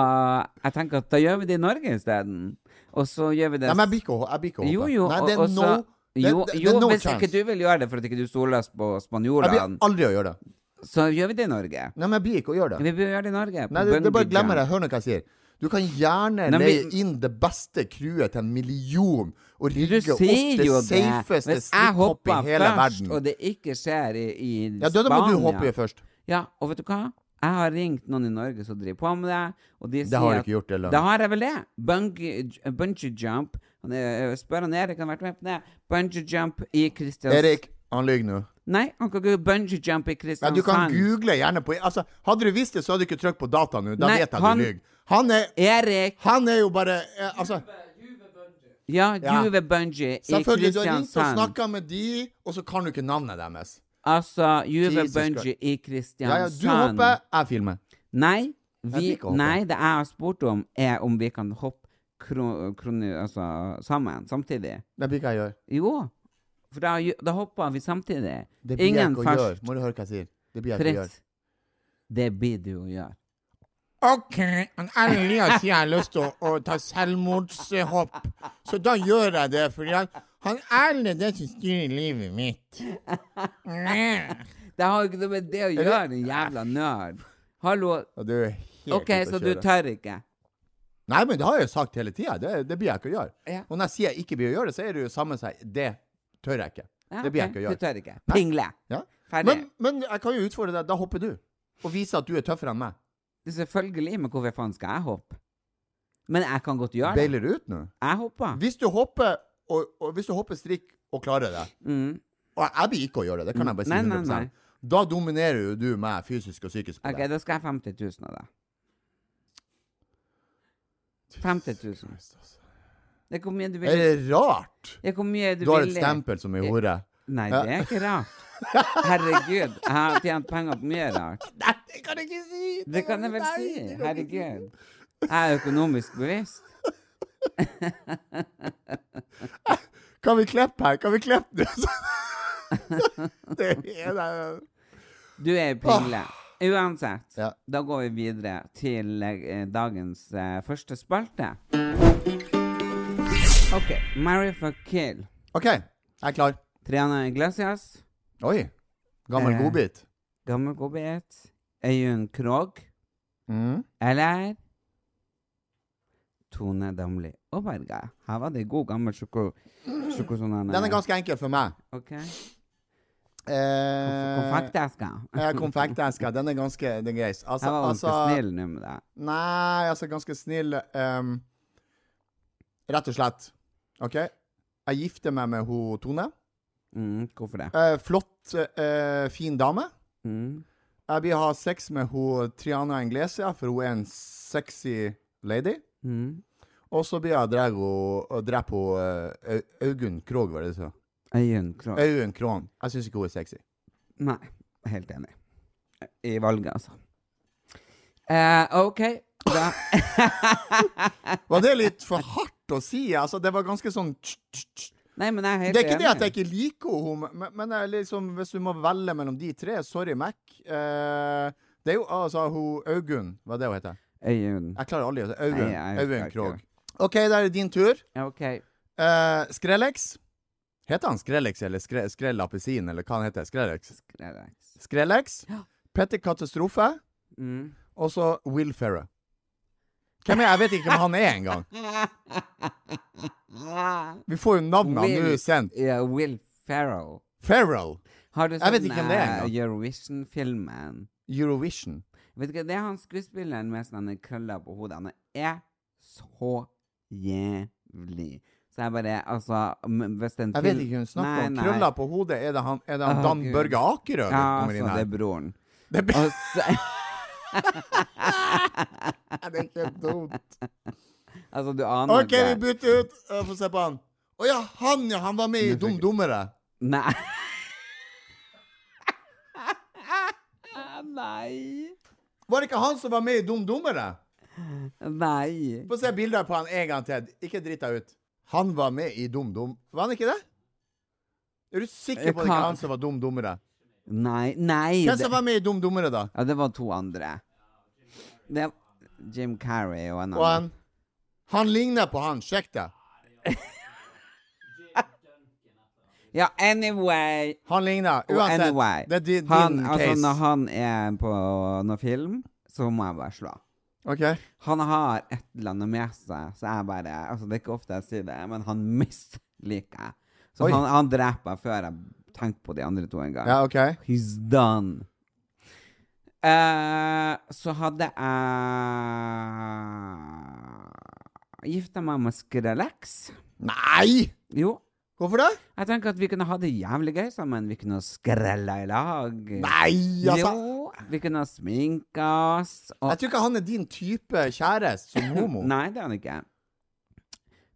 Speaker 3: jeg tenker at da gjør vi det i Norge isteden. Og så gjør vi det
Speaker 4: Nei, men jeg blir ikke å- jeg blir ikke å
Speaker 3: Jo,
Speaker 4: håpe.
Speaker 3: jo,
Speaker 4: Nei,
Speaker 3: og,
Speaker 4: det er
Speaker 3: og så
Speaker 4: no, det-
Speaker 3: Jo,
Speaker 4: det- det er
Speaker 3: jo
Speaker 4: no
Speaker 3: hvis
Speaker 4: chance.
Speaker 3: ikke du vil gjøre det for at ikke du stoler på
Speaker 4: Jeg blir
Speaker 3: spanjolene,
Speaker 4: aldri å gjøre det.
Speaker 3: så gjør vi det i Norge.
Speaker 4: Nei, men jeg blir ikke å gjøre det.
Speaker 3: Vi bør gjøre det i Norge. på
Speaker 4: Nei, det, det er bare
Speaker 3: Bønderbygda.
Speaker 4: glemmer det. Hør nå hva jeg sier. Du kan gjerne
Speaker 3: Nei, men-
Speaker 4: leie inn det beste crewet til en million og rigge
Speaker 3: Du
Speaker 4: oss
Speaker 3: sier
Speaker 4: det
Speaker 3: jo det.
Speaker 4: safeste
Speaker 3: Hvis jeg
Speaker 4: slipphoppet i
Speaker 3: hopper
Speaker 4: hele
Speaker 3: først,
Speaker 4: verden.
Speaker 3: og det ikke skjer i, i
Speaker 4: Ja, da da må du
Speaker 3: Spania-
Speaker 4: hoppe i først.
Speaker 3: Ja, og vet du hva? Jeg har ringt noen i Norge som driver på med det, og de sier
Speaker 4: Det har du
Speaker 3: at-
Speaker 4: ikke gjort, eller?
Speaker 3: Da har jeg vel det. Bungee, bungee jump. Han er- eh, Spør han Erik, han har vært med på det. Bungee jump i Kristiansand.
Speaker 4: Erik, han lyver nå.
Speaker 3: Nei, han kan ikke bungee jump i
Speaker 4: Ja,
Speaker 3: Kristiansand.
Speaker 4: du kan google gjerne på altså, Hadde du visst det, så hadde du ikke trykt på data nå. Da
Speaker 3: Nei,
Speaker 4: vet jeg
Speaker 3: han-
Speaker 4: du lyver. Han, er-
Speaker 3: Erik!
Speaker 4: han er jo bare eh, Altså,
Speaker 3: Ja,
Speaker 4: Ja.
Speaker 3: Juve bungee i
Speaker 4: selvfølgelig, du har ringt og
Speaker 3: Kristiansand.
Speaker 4: snakka med de, og så kan du ikke navnet deres.
Speaker 3: Altså, Juve
Speaker 4: Jesus
Speaker 3: bungee i
Speaker 4: Ja, ja,
Speaker 3: Kristiansand.
Speaker 4: du hopper, jeg filmer.
Speaker 3: Nei,
Speaker 4: Jeg
Speaker 3: vi,
Speaker 4: liker å hoppe.
Speaker 3: nei, det jeg har spurt om, er om vi kan hoppe kro, kroni, altså, sammen, samtidig.
Speaker 4: Det blir ikke jeg gjør.
Speaker 3: Jo, for da, gjø- da hopper vi samtidig.
Speaker 4: Det blir jeg
Speaker 3: Ingen
Speaker 4: ikke å gjøre.
Speaker 3: først.
Speaker 4: Må du høre hva jeg sier? Det blir jeg ikke å gjøre.
Speaker 3: Fritz, det blir du å gjøre.
Speaker 4: OK, men ærlig jeg sier jeg har lyst til å, å ta selvmordshopp, så da gjør jeg det. For jeg, han Erlend er det som styrer livet mitt. Ja,
Speaker 3: Det har jo ikke noe med det å gjøre, din jævla nerd. Hallo.
Speaker 4: du er helt
Speaker 3: OK,
Speaker 4: ute å
Speaker 3: så du
Speaker 4: kjøre.
Speaker 3: tør ikke?
Speaker 4: Nei, men det har jeg jo sagt hele tida. Det, det blir jeg ikke å gjøre.
Speaker 3: Ja.
Speaker 4: Og når jeg sier jeg ikke blir å gjøre det, så er det jo samme seg. Det tør jeg ikke.
Speaker 3: Ja,
Speaker 4: Det blir jeg
Speaker 3: ok,
Speaker 4: ikke å gjøre.
Speaker 3: Du tør ikke?
Speaker 4: Nei.
Speaker 3: Pingle.
Speaker 4: Ja.
Speaker 3: Ferdig.
Speaker 4: Men, men jeg kan jo utfordre deg. Da hopper du. Og viser at du er tøffere enn meg.
Speaker 3: Selvfølgelig, men hvorfor faen skal jeg hoppe? Men jeg kan godt gjøre det.
Speaker 4: Beiler du ut nå?
Speaker 3: Jeg hopper.
Speaker 4: Hvis du hopper, og, og hvis du hopper strikk og klarer det
Speaker 3: Mm.
Speaker 4: Og jeg blir ikke å gjøre det, det kan jeg bare si
Speaker 3: Nei,
Speaker 4: 100
Speaker 3: nei, nei.
Speaker 4: Da dominerer jo du meg fysisk og psykisk. på
Speaker 3: OK,
Speaker 4: det.
Speaker 3: da skal jeg ha 50 000 av deg. 50 000.
Speaker 4: altså.
Speaker 3: Det er hvor mye du
Speaker 4: Er
Speaker 3: vil.
Speaker 4: det rart?
Speaker 3: Det er hvor mye du,
Speaker 4: Du har et
Speaker 3: vil.
Speaker 4: stempel som ei hore.
Speaker 3: Nei, det er ikke rart. Herregud, jeg har tjent penger på mye rart.
Speaker 4: Nei, det kan jeg ikke si!
Speaker 3: Det kan jeg vel si. Herregud. Jeg er økonomisk bevisst.
Speaker 4: Kan vi klippe her? Kan vi klippe det? det er det.
Speaker 3: Du er pingle. Uansett,
Speaker 4: Ja.
Speaker 3: da går vi videre til eh, dagens eh, første spalte. OK. Marry fuck kill.
Speaker 4: OK, jeg er klar.
Speaker 3: Triana Iglesias.
Speaker 4: Oi. Gammel
Speaker 3: Eh.
Speaker 4: godbit.
Speaker 3: Gammel godbit. Øyunn Krogh.
Speaker 4: Mm.
Speaker 3: Eller Tone Damli og Berga. Her var det god gammel sjoko... Sjokosonane.
Speaker 4: Den er ganske enkel for meg.
Speaker 3: OK.
Speaker 4: Eh,
Speaker 3: Konfekteska.
Speaker 4: eh, Konfekteska. Den er ganske den er grei. Altså,
Speaker 3: Jeg var ganske
Speaker 4: altså
Speaker 3: snill nå med deg.
Speaker 4: Nei, altså ganske snill ehm, Rett og slett. OK? Jeg gifter meg med ho Tone.
Speaker 3: Mm, hvorfor det?
Speaker 4: Eh, flott, eh, fin dame.
Speaker 3: Mm.
Speaker 4: Jeg vil ha sex med ho Triana Inglesia, for hun er en sexy lady.
Speaker 3: Mm.
Speaker 4: Og så blir jeg dreg og, og drepe ho eh, Au- Augunn Krogh, var det du sa?
Speaker 3: Øyunn Krogh.
Speaker 4: Augunn Krogh. Jeg syns ikke hun er sexy.
Speaker 3: Nei, helt enig. I valget, altså. Eh, OK, da
Speaker 4: Var det litt for hardt å si? Altså, det var ganske sånn
Speaker 3: Nei, men jeg er helt
Speaker 4: Det er ikke det at
Speaker 3: enig.
Speaker 4: jeg ikke liker henne, men, men jeg liksom, hvis du må velge mellom de tre Sorry, Mac. Eh, det er jo altså hun Augunn, hva er det hun heter?
Speaker 3: Øyunn.
Speaker 4: Jeg klarer aldri å si
Speaker 3: Nei,
Speaker 4: Augunn.
Speaker 3: jeg husker
Speaker 4: Augunn
Speaker 3: ikke.
Speaker 4: Krogh. OK, da er det din tur.
Speaker 3: Ja, OK.
Speaker 4: Eh, Skrellex. Heter han Skrellex eller skre, Skrell Appelsin, eller hva han heter? Skrellex.
Speaker 3: Skrevet.
Speaker 4: Skrellex, Petter Katastrofe,
Speaker 3: Mm.
Speaker 4: og så Will Ferrer. Hvem er Jeg vet ikke hvem han er engang. Vi får jo navnene
Speaker 3: Will-
Speaker 4: nå sendt.
Speaker 3: Ja, Will Ferrell.
Speaker 4: Ferrell.
Speaker 3: Har du
Speaker 4: Jeg vet
Speaker 3: sett
Speaker 4: ikke hvem det er
Speaker 3: eh,
Speaker 4: engang.
Speaker 3: Eurovision-filmen?
Speaker 4: Eurovision.
Speaker 3: Vet du hva, Det er han skuespilleren med sånne krøller på hodet. Han er så jævlig. Så jeg bare Altså, m- hvis den
Speaker 4: Jeg vet ikke hva hun snakker om. Krøller på hodet, er det han, er det han
Speaker 3: Å,
Speaker 4: Dan
Speaker 3: Gud.
Speaker 4: Børge Akerø
Speaker 3: Ja,
Speaker 4: som kommer
Speaker 3: altså,
Speaker 4: inn
Speaker 3: det
Speaker 4: her?
Speaker 3: er broren.
Speaker 4: Det er,
Speaker 3: Og så,
Speaker 4: det er ikke dumt.
Speaker 3: Altså, du aner
Speaker 4: OK, vi
Speaker 3: ikke.
Speaker 4: bytter ut. Eh, Få se på han. Å ja, han ja! Han var med i Dum Dummere.
Speaker 3: Nei. Nei.
Speaker 4: Var det ikke han som var med i Dum Dummere?
Speaker 3: Nei.
Speaker 4: Få se bilder på han en gang til. Ikke drit deg ut. Han var med i Dum Dum... Var han ikke det? Er du sikker
Speaker 3: Jeg
Speaker 4: på at det ikke
Speaker 3: kan-
Speaker 4: er han som var Dum Dummere?
Speaker 3: Nei. Nei.
Speaker 4: Hvem
Speaker 3: Det,
Speaker 4: som var med i Dum Dummere, da?
Speaker 3: ja, det var to andre. Det Jim Carrey og en
Speaker 4: Og
Speaker 3: annen.
Speaker 4: han Han ligner på han. Sjekk det.
Speaker 3: Ja, anyway.
Speaker 4: Han ligner.
Speaker 3: Og
Speaker 4: Uansett.
Speaker 3: anyway.
Speaker 4: Det er din, din
Speaker 3: han,
Speaker 4: case.
Speaker 3: altså, når han er på noe film, så må jeg bare slå.
Speaker 4: OK.
Speaker 3: Han har et eller annet med seg, så jeg bare Altså, det er ikke ofte jeg sier det, men han misliker jeg. Så
Speaker 4: Oi.
Speaker 3: han, han dreper jeg før jeg tenker på de andre to engang.
Speaker 4: Ja, OK.
Speaker 3: He's done. Eh, så hadde jeg Gifta meg med Skrellex.
Speaker 4: Nei!
Speaker 3: Jo.
Speaker 4: Hvorfor det?
Speaker 3: Jeg tenker at vi kunne ha det jævlig gøy sammen. Vi kunne ha skrella i lag.
Speaker 4: Nei, altså.
Speaker 3: Jo. Vi kunne ha sminka oss. Og
Speaker 4: Jeg tror ikke han er din type kjæreste som homo.
Speaker 3: Nei, det er han ikke.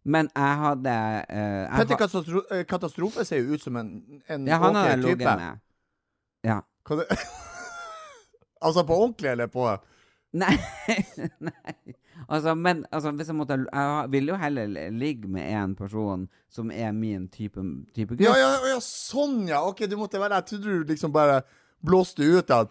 Speaker 3: Men jeg hadde eh, jeg
Speaker 4: Petter
Speaker 3: ha-
Speaker 4: Katastro eh, Katastrofe ser jo ut som en, en
Speaker 3: ja, han
Speaker 4: ok
Speaker 3: hadde jeg
Speaker 4: type.
Speaker 3: ligget med. Ja.
Speaker 4: Kan du... altså på ordentlig, eller på
Speaker 3: Nei. Nei. Altså, men altså, hvis jeg måtte Jeg vil jo heller ligge med en person som er min type, type gutt.
Speaker 4: ja, ja, ja, sånn, ja! OK, du måtte være Jeg trodde du liksom bare blåste ut at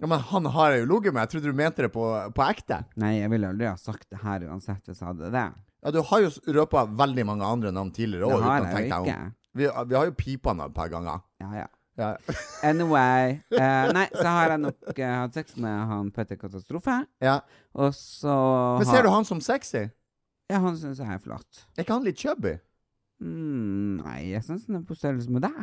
Speaker 4: Ja, men han har jeg jo ligget med. Jeg trodde du mente det på, på ekte.
Speaker 3: Nei, jeg ville aldri ha sagt det her uansett hvis jeg hadde det.
Speaker 4: Ja, du har jo s- røpa veldig mange andre navn tidligere
Speaker 3: Det
Speaker 4: òg,
Speaker 3: har
Speaker 4: uten å
Speaker 3: jeg
Speaker 4: tenke
Speaker 3: jo
Speaker 4: deg
Speaker 3: ikke.
Speaker 4: om. Vi, vi har jo pipa han et par ganger.
Speaker 3: Ja, ja.
Speaker 4: Ja.
Speaker 3: Anyway. eh, nei, så har jeg nok eh, hatt sex med han Petter Katastrofe.
Speaker 4: ja.
Speaker 3: Og så
Speaker 4: Men
Speaker 3: har-
Speaker 4: ser du han som sexy?
Speaker 3: Ja, han syns jeg er flott.
Speaker 4: Er ikke han litt chubby?
Speaker 3: Mm, nei, jeg syns han er på størrelse med deg.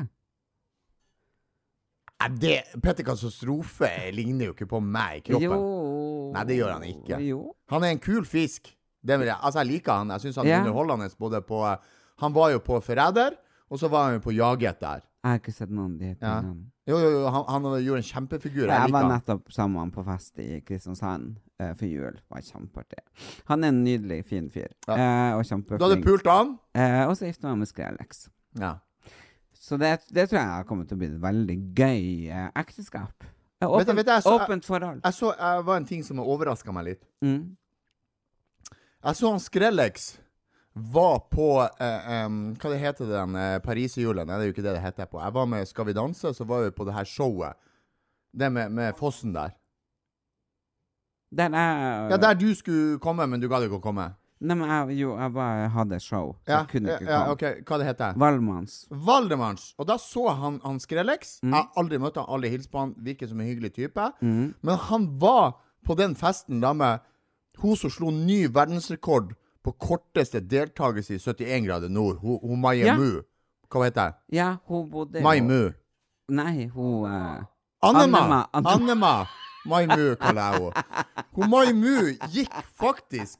Speaker 4: Nei, det Petter Katastrofe ligner jo ikke på meg i kroppen.
Speaker 3: Jo.
Speaker 4: Nei, det gjør han ikke.
Speaker 3: Jo.
Speaker 4: Han er en kul fisk. Det vil jeg. Altså, jeg liker han. Jeg syns han
Speaker 3: Ja.
Speaker 4: er underholdende både på eh, Han var jo på Forræder, og så var han jo på Jaget der.
Speaker 3: Jeg har ikke sett noen de
Speaker 4: Ja.
Speaker 3: tingene.
Speaker 4: Jo, jo, jo, han, han gjorde en kjempefigur. Jeg
Speaker 3: Jeg var
Speaker 4: liker han.
Speaker 3: nettopp sammen på fest i Kristiansand eh, for jul. Det var kjempeartig. Han er en nydelig, fin fyr. Eh, og
Speaker 4: Du hadde
Speaker 3: kjempeflink.
Speaker 4: pult han?
Speaker 3: Eh, og så gifta jeg meg med Skrellex.
Speaker 4: Ja.
Speaker 3: Så det, det tror jeg har kommet til å bli et veldig gøy eh, ekteskap. Eh,
Speaker 4: Vet du-
Speaker 3: åpent-
Speaker 4: vet du, jeg så-
Speaker 3: åpent forhold.
Speaker 4: Jeg så jeg var en ting som overraska meg litt.
Speaker 3: Mm.
Speaker 4: Jeg så han Skrellex var på eh, em, Hva det heter det, den eh, Pariserhjulet? Nei, det er jo ikke det det heter. på Jeg var med Skal vi danse, så var vi på det her showet. Det med, med fossen der.
Speaker 3: Der jeg
Speaker 4: Ja, Der du skulle komme, men du gadd ikke å komme.
Speaker 3: Nei, men jeg, jo, jeg bare hadde show, så
Speaker 4: Ja,
Speaker 3: jeg kunne ikke
Speaker 4: ja,
Speaker 3: komme.
Speaker 4: ok, Hva det heter det?
Speaker 3: Valmanns.
Speaker 4: Valdemars. Og da så han, han Skrellex.
Speaker 3: Mm.
Speaker 4: Jeg har aldri møtt han, aldri hilst på han. Virker som en hyggelig type. Men han var på den festen da med hun som slo ny verdensrekord på korteste deltakelse i 71 grader nord. Hun, hun Maye
Speaker 3: Ja.
Speaker 4: Mu. Hva heter hun?
Speaker 3: Ja, hun bodde jo-
Speaker 4: Mai Mu.
Speaker 3: Nei, hun eh,
Speaker 4: Annema.
Speaker 3: Annema.
Speaker 4: Annema. Mai Mu kaller jeg henne. Hun Mai Mu gikk faktisk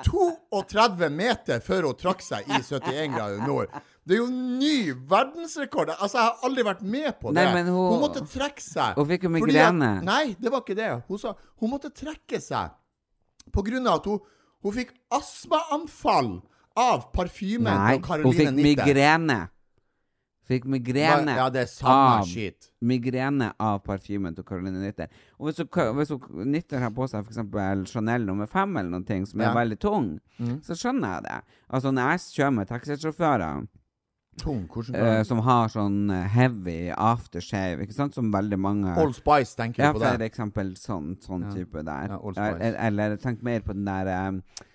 Speaker 4: 32 meter før hun trakk seg i 71 grader nord. Det er jo ny verdensrekord. Altså, jeg har aldri vært med på det.
Speaker 3: Nei, men hun-
Speaker 4: måtte trekke seg.
Speaker 3: Hun fikk jo
Speaker 4: fordi at-
Speaker 3: migrene.
Speaker 4: Nei, det var ikke det. Hun sa hun måtte trekke seg på grunn av at hun, hun fikk astmaanfall av parfymen
Speaker 3: Nei,
Speaker 4: fra
Speaker 3: hun
Speaker 4: Caroline
Speaker 3: fikk
Speaker 4: Nitter.
Speaker 3: migrene. Fikk migrene
Speaker 4: Ja, det er samme
Speaker 3: av
Speaker 4: shit.
Speaker 3: Migrene av parfymen til Caroline Nitter. Og hvis hun, hvis hun Nitter har på seg f.eks. Chanel nummer fem eller noen ting som
Speaker 4: Ja. Mm.
Speaker 3: er veldig tung, så skjønner jeg det. Altså, når jeg kjører med taxisjåfører
Speaker 4: Tung, hvordan
Speaker 3: eh, som har sånn eh, heavy aftershave, ikke sant, som veldig mange
Speaker 4: Old Spice, tenker
Speaker 3: Ja,
Speaker 4: du på
Speaker 3: for
Speaker 4: det?
Speaker 3: eksempel sånn, sånn type der.
Speaker 4: Ja, Old Spice.
Speaker 3: eller, eller tenk mer på den der eh,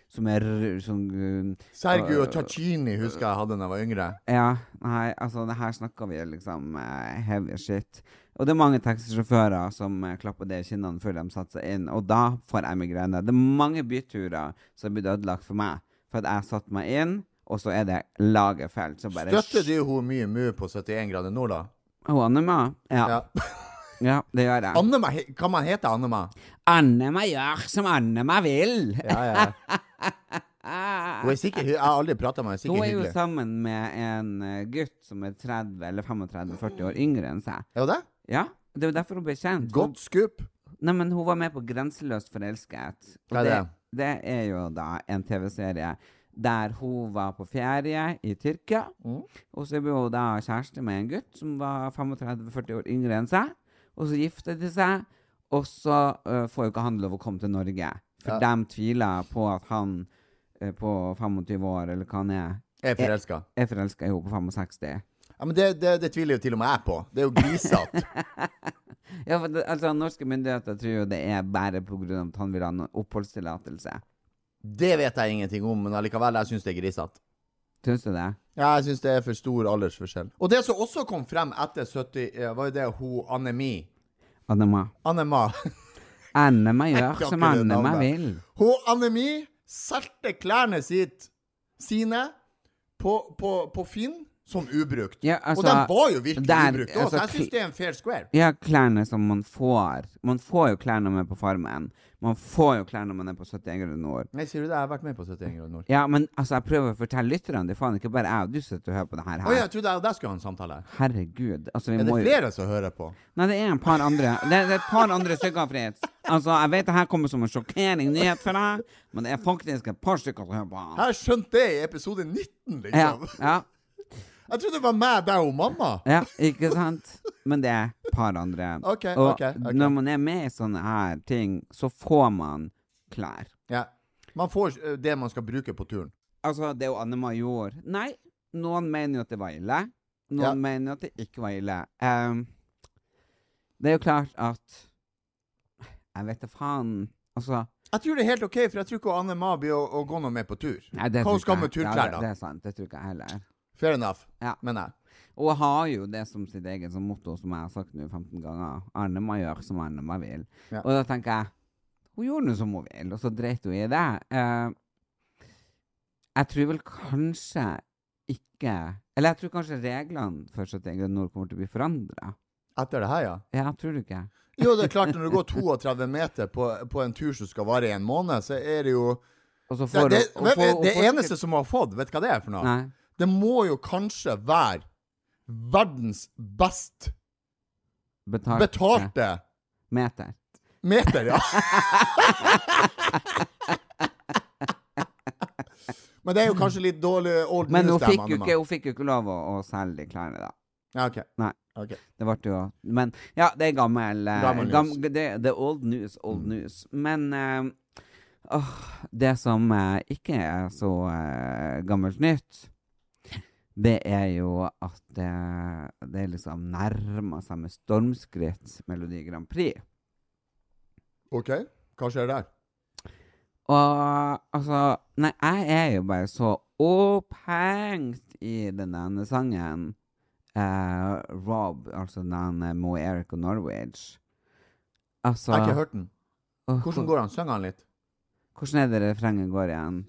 Speaker 3: som er r- sånn eh,
Speaker 4: Sergio Tacchini husker jeg hadde da jeg var yngre.
Speaker 3: Ja, nei, altså det her snakker vi liksom eh, heavy shit. Og det er mange taxisjåfører som eh, klapper det i kinnene før de setter seg inn, og da får jeg migrene. Det er mange byturer som er blitt ødelagt for meg, for at jeg satte meg inn, og så er det laget felt. Så bare
Speaker 4: Støtter du hun mye mu på 71 grader nord, da?
Speaker 3: Hun Annema? Ja. ja. det gjør jeg.
Speaker 4: Annema, he- kan man hete Annema?
Speaker 3: Annema gjør som Annema vil! Ah.
Speaker 4: Ja, ja. Hun er sikkert, hy- jeg har aldri prata med henne,
Speaker 3: Hun
Speaker 4: hun er sikkert
Speaker 3: er jo
Speaker 4: hyggelig.
Speaker 3: sammen med en eh, gutt som er 30 eller 35-40 år yngre enn seg.
Speaker 4: Er hun det?
Speaker 3: Ja, det er jo derfor hun ble kjent. Hun-
Speaker 4: Godt skup.
Speaker 3: Nei, men hun var med på Grenseløst forelsket. og
Speaker 4: Hva er det?
Speaker 3: det er jo da en TV-serie der hun var på ferie i Tyrkia.
Speaker 4: Mm.
Speaker 3: Og så ble hun da kjæreste med en gutt som var 35-40 år yngre enn seg. Og så gifter de seg, og så øh, får jo ikke han lov å komme til Norge. For
Speaker 4: Ja.
Speaker 3: de tviler på at han øh, på 25 år, eller hva han er,
Speaker 4: Jeg er forelska.
Speaker 3: er forelska i henne på 65.
Speaker 4: Ja, men det, det, det tviler jo til og med jeg på. Det er jo grisete.
Speaker 3: Ja, for det, altså Norske myndigheter tror jo det er bare pga. at han vil ha noen oppholdstillatelse.
Speaker 4: Det vet jeg ingenting om, men allikevel, jeg syns det er grisete.
Speaker 3: Syns du det?
Speaker 4: Ja, jeg syns det er for stor aldersforskjell. Og det som også kom frem etter 70, eh, var jo det hun Annemi
Speaker 3: Annema.
Speaker 4: Annema.
Speaker 3: Annema
Speaker 4: Jeg
Speaker 3: gjør
Speaker 4: kan
Speaker 3: som
Speaker 4: ikke det
Speaker 3: Annema
Speaker 4: navnet.
Speaker 3: vil.
Speaker 4: Hun Annemi solgte klærne sitt, sine på, på, på Finn som ubrukt.
Speaker 3: Ja, altså,
Speaker 4: Og de var jo virkelig
Speaker 3: der-
Speaker 4: ubrukt òg,
Speaker 3: altså,
Speaker 4: så jeg
Speaker 3: kl-
Speaker 4: syns det er en fair square.
Speaker 3: Ja, klærne som man får. Man får jo klær når man er på Farmen. Man får jo klær når man er på 71 grader nord.
Speaker 4: Nei, sier du det? Jeg har vært med på 71 grader nord.
Speaker 3: Ja, men altså, jeg prøver å fortelle lytterne det. er Faen, ikke bare jeg og du sitter og hører på det her.
Speaker 4: Å ja,
Speaker 3: her.
Speaker 4: jeg trodde jeg og deg skulle ha en samtale.
Speaker 3: Herregud. Altså, vi
Speaker 4: Er
Speaker 3: må
Speaker 4: det
Speaker 3: jo
Speaker 4: flere som hører på?
Speaker 3: Nei, det er en par andre. Det, det er et par andre stykker, Fritz. Altså, jeg vet det her kommer som en sjokkering nyhet for deg, men det er faktisk et par stykker som hører på.
Speaker 4: Jeg har skjønt det i episode 19,
Speaker 3: Ja,
Speaker 4: liksom.
Speaker 3: ja,
Speaker 4: Jeg trodde det var meg, deg og mamma.
Speaker 3: ja, ikke sant? Men det er et par andre.
Speaker 4: Ok,
Speaker 3: og
Speaker 4: ok, ok.
Speaker 3: når man er med i sånne her ting, så får man klær.
Speaker 4: Ja. Man får eh, det man skal bruke på turen.
Speaker 3: Altså, det er jo Anne Major. Nei, noen mener jo at det var ille. Noen
Speaker 4: Ja.
Speaker 3: mener jo at det ikke var ille. Ehm, det er jo klart at Jeg vet da faen. Altså
Speaker 4: Jeg tror det er helt OK, for jeg tror ikke Anne Ma blir å, å gå noe mer på tur.
Speaker 3: nei, det
Speaker 4: Hva
Speaker 3: tror
Speaker 4: hun skal
Speaker 3: ikke
Speaker 4: med
Speaker 3: jeg-
Speaker 4: turklær,
Speaker 3: Ja, det, det
Speaker 4: da?
Speaker 3: er sant. Det tror ikke jeg heller.
Speaker 4: Fair enough,
Speaker 3: Ja.
Speaker 4: mener jeg.
Speaker 3: Og hun har jo det som sitt eget som motto, som jeg har sagt nå 15 ganger. Arne må gjøre som Arne må vil.
Speaker 4: Ja.
Speaker 3: Og da tenker jeg Hun gjorde nå som hun vil, og så dreit hun i det. Eh, jeg tror vel kanskje ikke Eller jeg tror kanskje reglene for 71 grader nord kommer til å bli forandra.
Speaker 4: Etter det her, ja.
Speaker 3: Ja, tror du ikke?
Speaker 4: Jo, det er klart, når du går 32 meter på, på en tur som skal vare i en måned, så er det jo
Speaker 3: Og så
Speaker 4: Det,
Speaker 3: får
Speaker 4: det,
Speaker 3: hun- hun
Speaker 4: vet-
Speaker 3: får- hun
Speaker 4: det
Speaker 3: får sikkert-
Speaker 4: eneste som hun har fått, vet du hva det er for noe?
Speaker 3: Nei.
Speaker 4: Det må jo kanskje være verdens best
Speaker 3: Betalt,
Speaker 4: betalte
Speaker 3: meter.
Speaker 4: meter, ja. Men det er jo kanskje litt dårlig old
Speaker 3: Men hun
Speaker 4: news,
Speaker 3: fikk, jo
Speaker 4: Anne Ma.
Speaker 3: ikke, hun fikk jo ikke lov å, å selge de klærne, da.
Speaker 4: Ja, ok.
Speaker 3: Nei.
Speaker 4: Ok.
Speaker 3: Det ble jo Men ja, det er gammel, eh,
Speaker 4: Gammel news. Mm.
Speaker 3: gam- det, det er old news, old news. Men eh, åh, det som eh, ikke er så eh, gammelt nytt, det er jo at eh, det liksom nærmer seg med stormskritt Melodi Grand Prix.
Speaker 4: OK, hva skjer der?
Speaker 3: Og altså Nei, jeg er jo bare så opphengt i den ene sangen. eh, Rob, altså den ene Mo Eric og Norwich. Altså
Speaker 4: Jeg har ikke hørt den.
Speaker 3: åh,
Speaker 4: Hvordan går han? Synger han litt?
Speaker 3: Hvordan er det refrenget går igjen?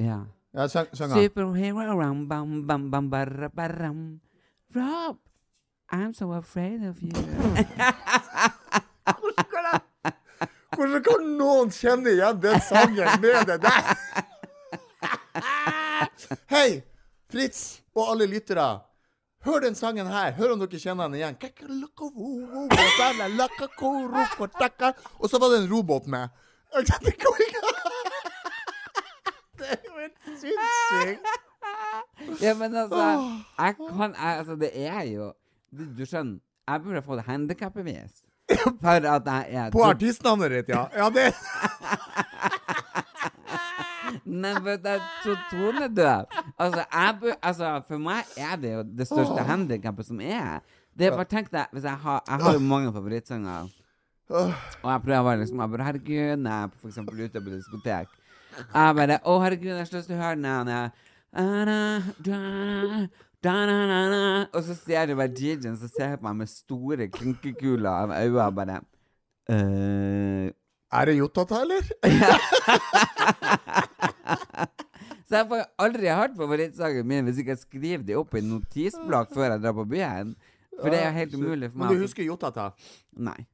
Speaker 3: Ja.
Speaker 4: Ja, syng, synger han.
Speaker 3: Superhero ram bam bam bam barra barram. Rob, I'm so afraid of you.
Speaker 4: Hvordan kan noen kjenne igjen den sangen med det der? Hei, Fritz og alle lyttere. Hør den sangen her. Hør om dere kjenner den igjen. Og så var det en robot med. Det går ikke- Det er jo helt sinnssykt.
Speaker 3: Ja, men altså, jeg kan, jeg, altså Det er jo Du, du skjønner, jeg burde fått handikapbevis for at jeg er
Speaker 4: På artistnavnet ditt, ja. ja det.
Speaker 3: Nei, men det er to tonedøv. Altså, jeg bu, altså, for meg er det jo det største handikappet som er. Det er bare tenk deg hvis jeg, har, jeg har jo mange favorittsanger. Og jeg prøver liksom jeg bare, Herregud, når jeg er for eksempel ute på diskotek Jeg bare Å, herregud, jeg har så lyst til å høre den her, den her. Da-da, da-da, da-da-da-da. Og så ser du bare DJ-en som ser på meg med store klinkekuler av øynene og bare eh,
Speaker 4: Er det Jotata, eller?
Speaker 3: Så jeg får jo aldri hørt favorittsangen min hvis ikke jeg skriver de opp i en notisblokk før jeg drar på byen. For det er jo helt umulig for
Speaker 4: Ah, Men
Speaker 3: meg.
Speaker 4: du
Speaker 3: å-
Speaker 4: husker Jotata?
Speaker 3: Nei.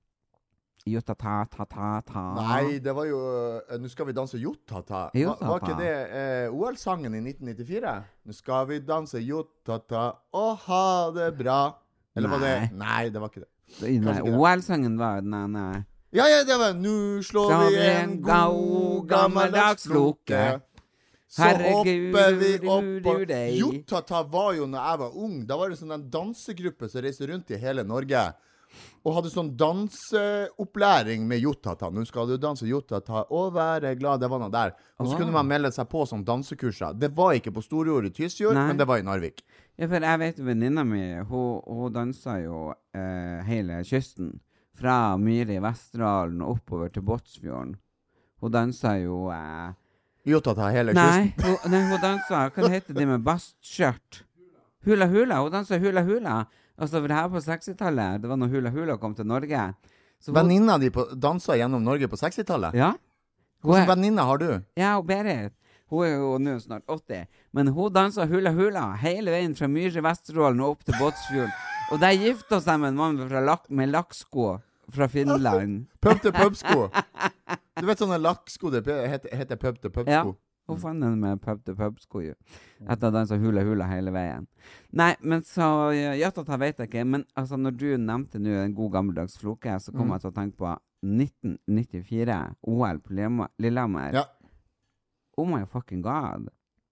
Speaker 3: Jo-ta-ta-ta-ta-ta. Ah.
Speaker 4: Nei, det var jo eh, Nå skal vi danse jotata. Va-
Speaker 3: Jotata.
Speaker 4: Var ikke det eh, OL-sangen i 1994? Nå skal vi danse jotata og ha det bra. Eller var det Nei, det var ikke det.
Speaker 3: Nei,
Speaker 4: ikke det.
Speaker 3: OL-sangen var den ene
Speaker 4: Ja, ja, det var Nå slår
Speaker 3: Slår
Speaker 4: vi en god gammeldags floke. Så
Speaker 3: Herregud,
Speaker 4: hopper vi opp
Speaker 3: du,
Speaker 4: og
Speaker 3: du, deg.
Speaker 4: Jotata var jo når jeg var ung. Da var det sånn en dansegruppe som reiste rundt i hele Norge. Og hadde sånn danseopplæring med jotata. Nå skal du danse jotata og være glad. Det var noe der. Og så kunne man melde seg på som dansekurser. Det var ikke på Storjord i Tysfjord,
Speaker 3: Nei.
Speaker 4: men det var i Narvik.
Speaker 3: Ja, for jeg vet jo venninna mi, hun, hun dansa jo eh, hele kysten. Fra Myre i Vesterålen og oppover til Båtsfjorden. Hun dansa jo eh,
Speaker 4: Jotata hele
Speaker 3: nei,
Speaker 4: kysten.
Speaker 3: hun, nei, hun dansa Hva det heter det med bastskjørt? Hula hula. Hun dansa hula hula. Altså, for det her på 60-tallet, det var når hula hula kom til Norge. Så hun,
Speaker 4: Venninna di på- dansa gjennom Norge på 60-tallet.
Speaker 3: ja? Hun
Speaker 4: Hvilken
Speaker 3: er-
Speaker 4: venninne har du?
Speaker 3: Ja, og Berit. Hun er jo nå snart 80, men hun dansa hula hula hele veien fra Myhre i Vesterålen og opp til Båtsfjorden. Og der gifta hun seg med en mann fra lak med lakksko fra Finland.
Speaker 4: Pub til pub-sko. Du vet sånne lakksko det heter, heter pub til
Speaker 3: Ja.
Speaker 4: pub-sko.
Speaker 3: Hun fant den med pub til pub-sko, jo. Etter å ha dansa hula hula hele veien. Nei, men så Jatata vet jeg ikke, men altså, når du nevnte nå en god gammeldags floke, så
Speaker 4: Mm.
Speaker 3: kom jeg til å tenke på 1994, OL på Lillehammer- Lillehammer.
Speaker 4: Ja.
Speaker 3: Oh my fucking god.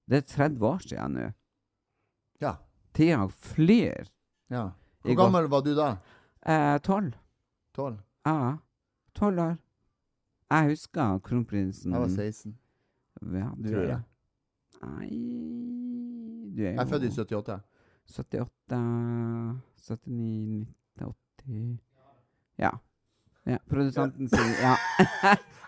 Speaker 3: Det er 30 år siden nå.
Speaker 4: Ja.
Speaker 3: Tida flyr.
Speaker 4: ja.
Speaker 3: I
Speaker 4: Hvor
Speaker 3: går-
Speaker 4: gammel var du da?
Speaker 3: Eh, Tolv.
Speaker 4: Tolv?
Speaker 3: Ja. Tolv år. Jeg husker kronprinsen
Speaker 4: Jeg var 16.
Speaker 3: Ja, du
Speaker 4: tror
Speaker 3: er
Speaker 4: jeg.
Speaker 3: Nei Du er jo
Speaker 4: Jeg er født i 78.
Speaker 3: 78 79 80 Ja. ja. Produsenten sier ja.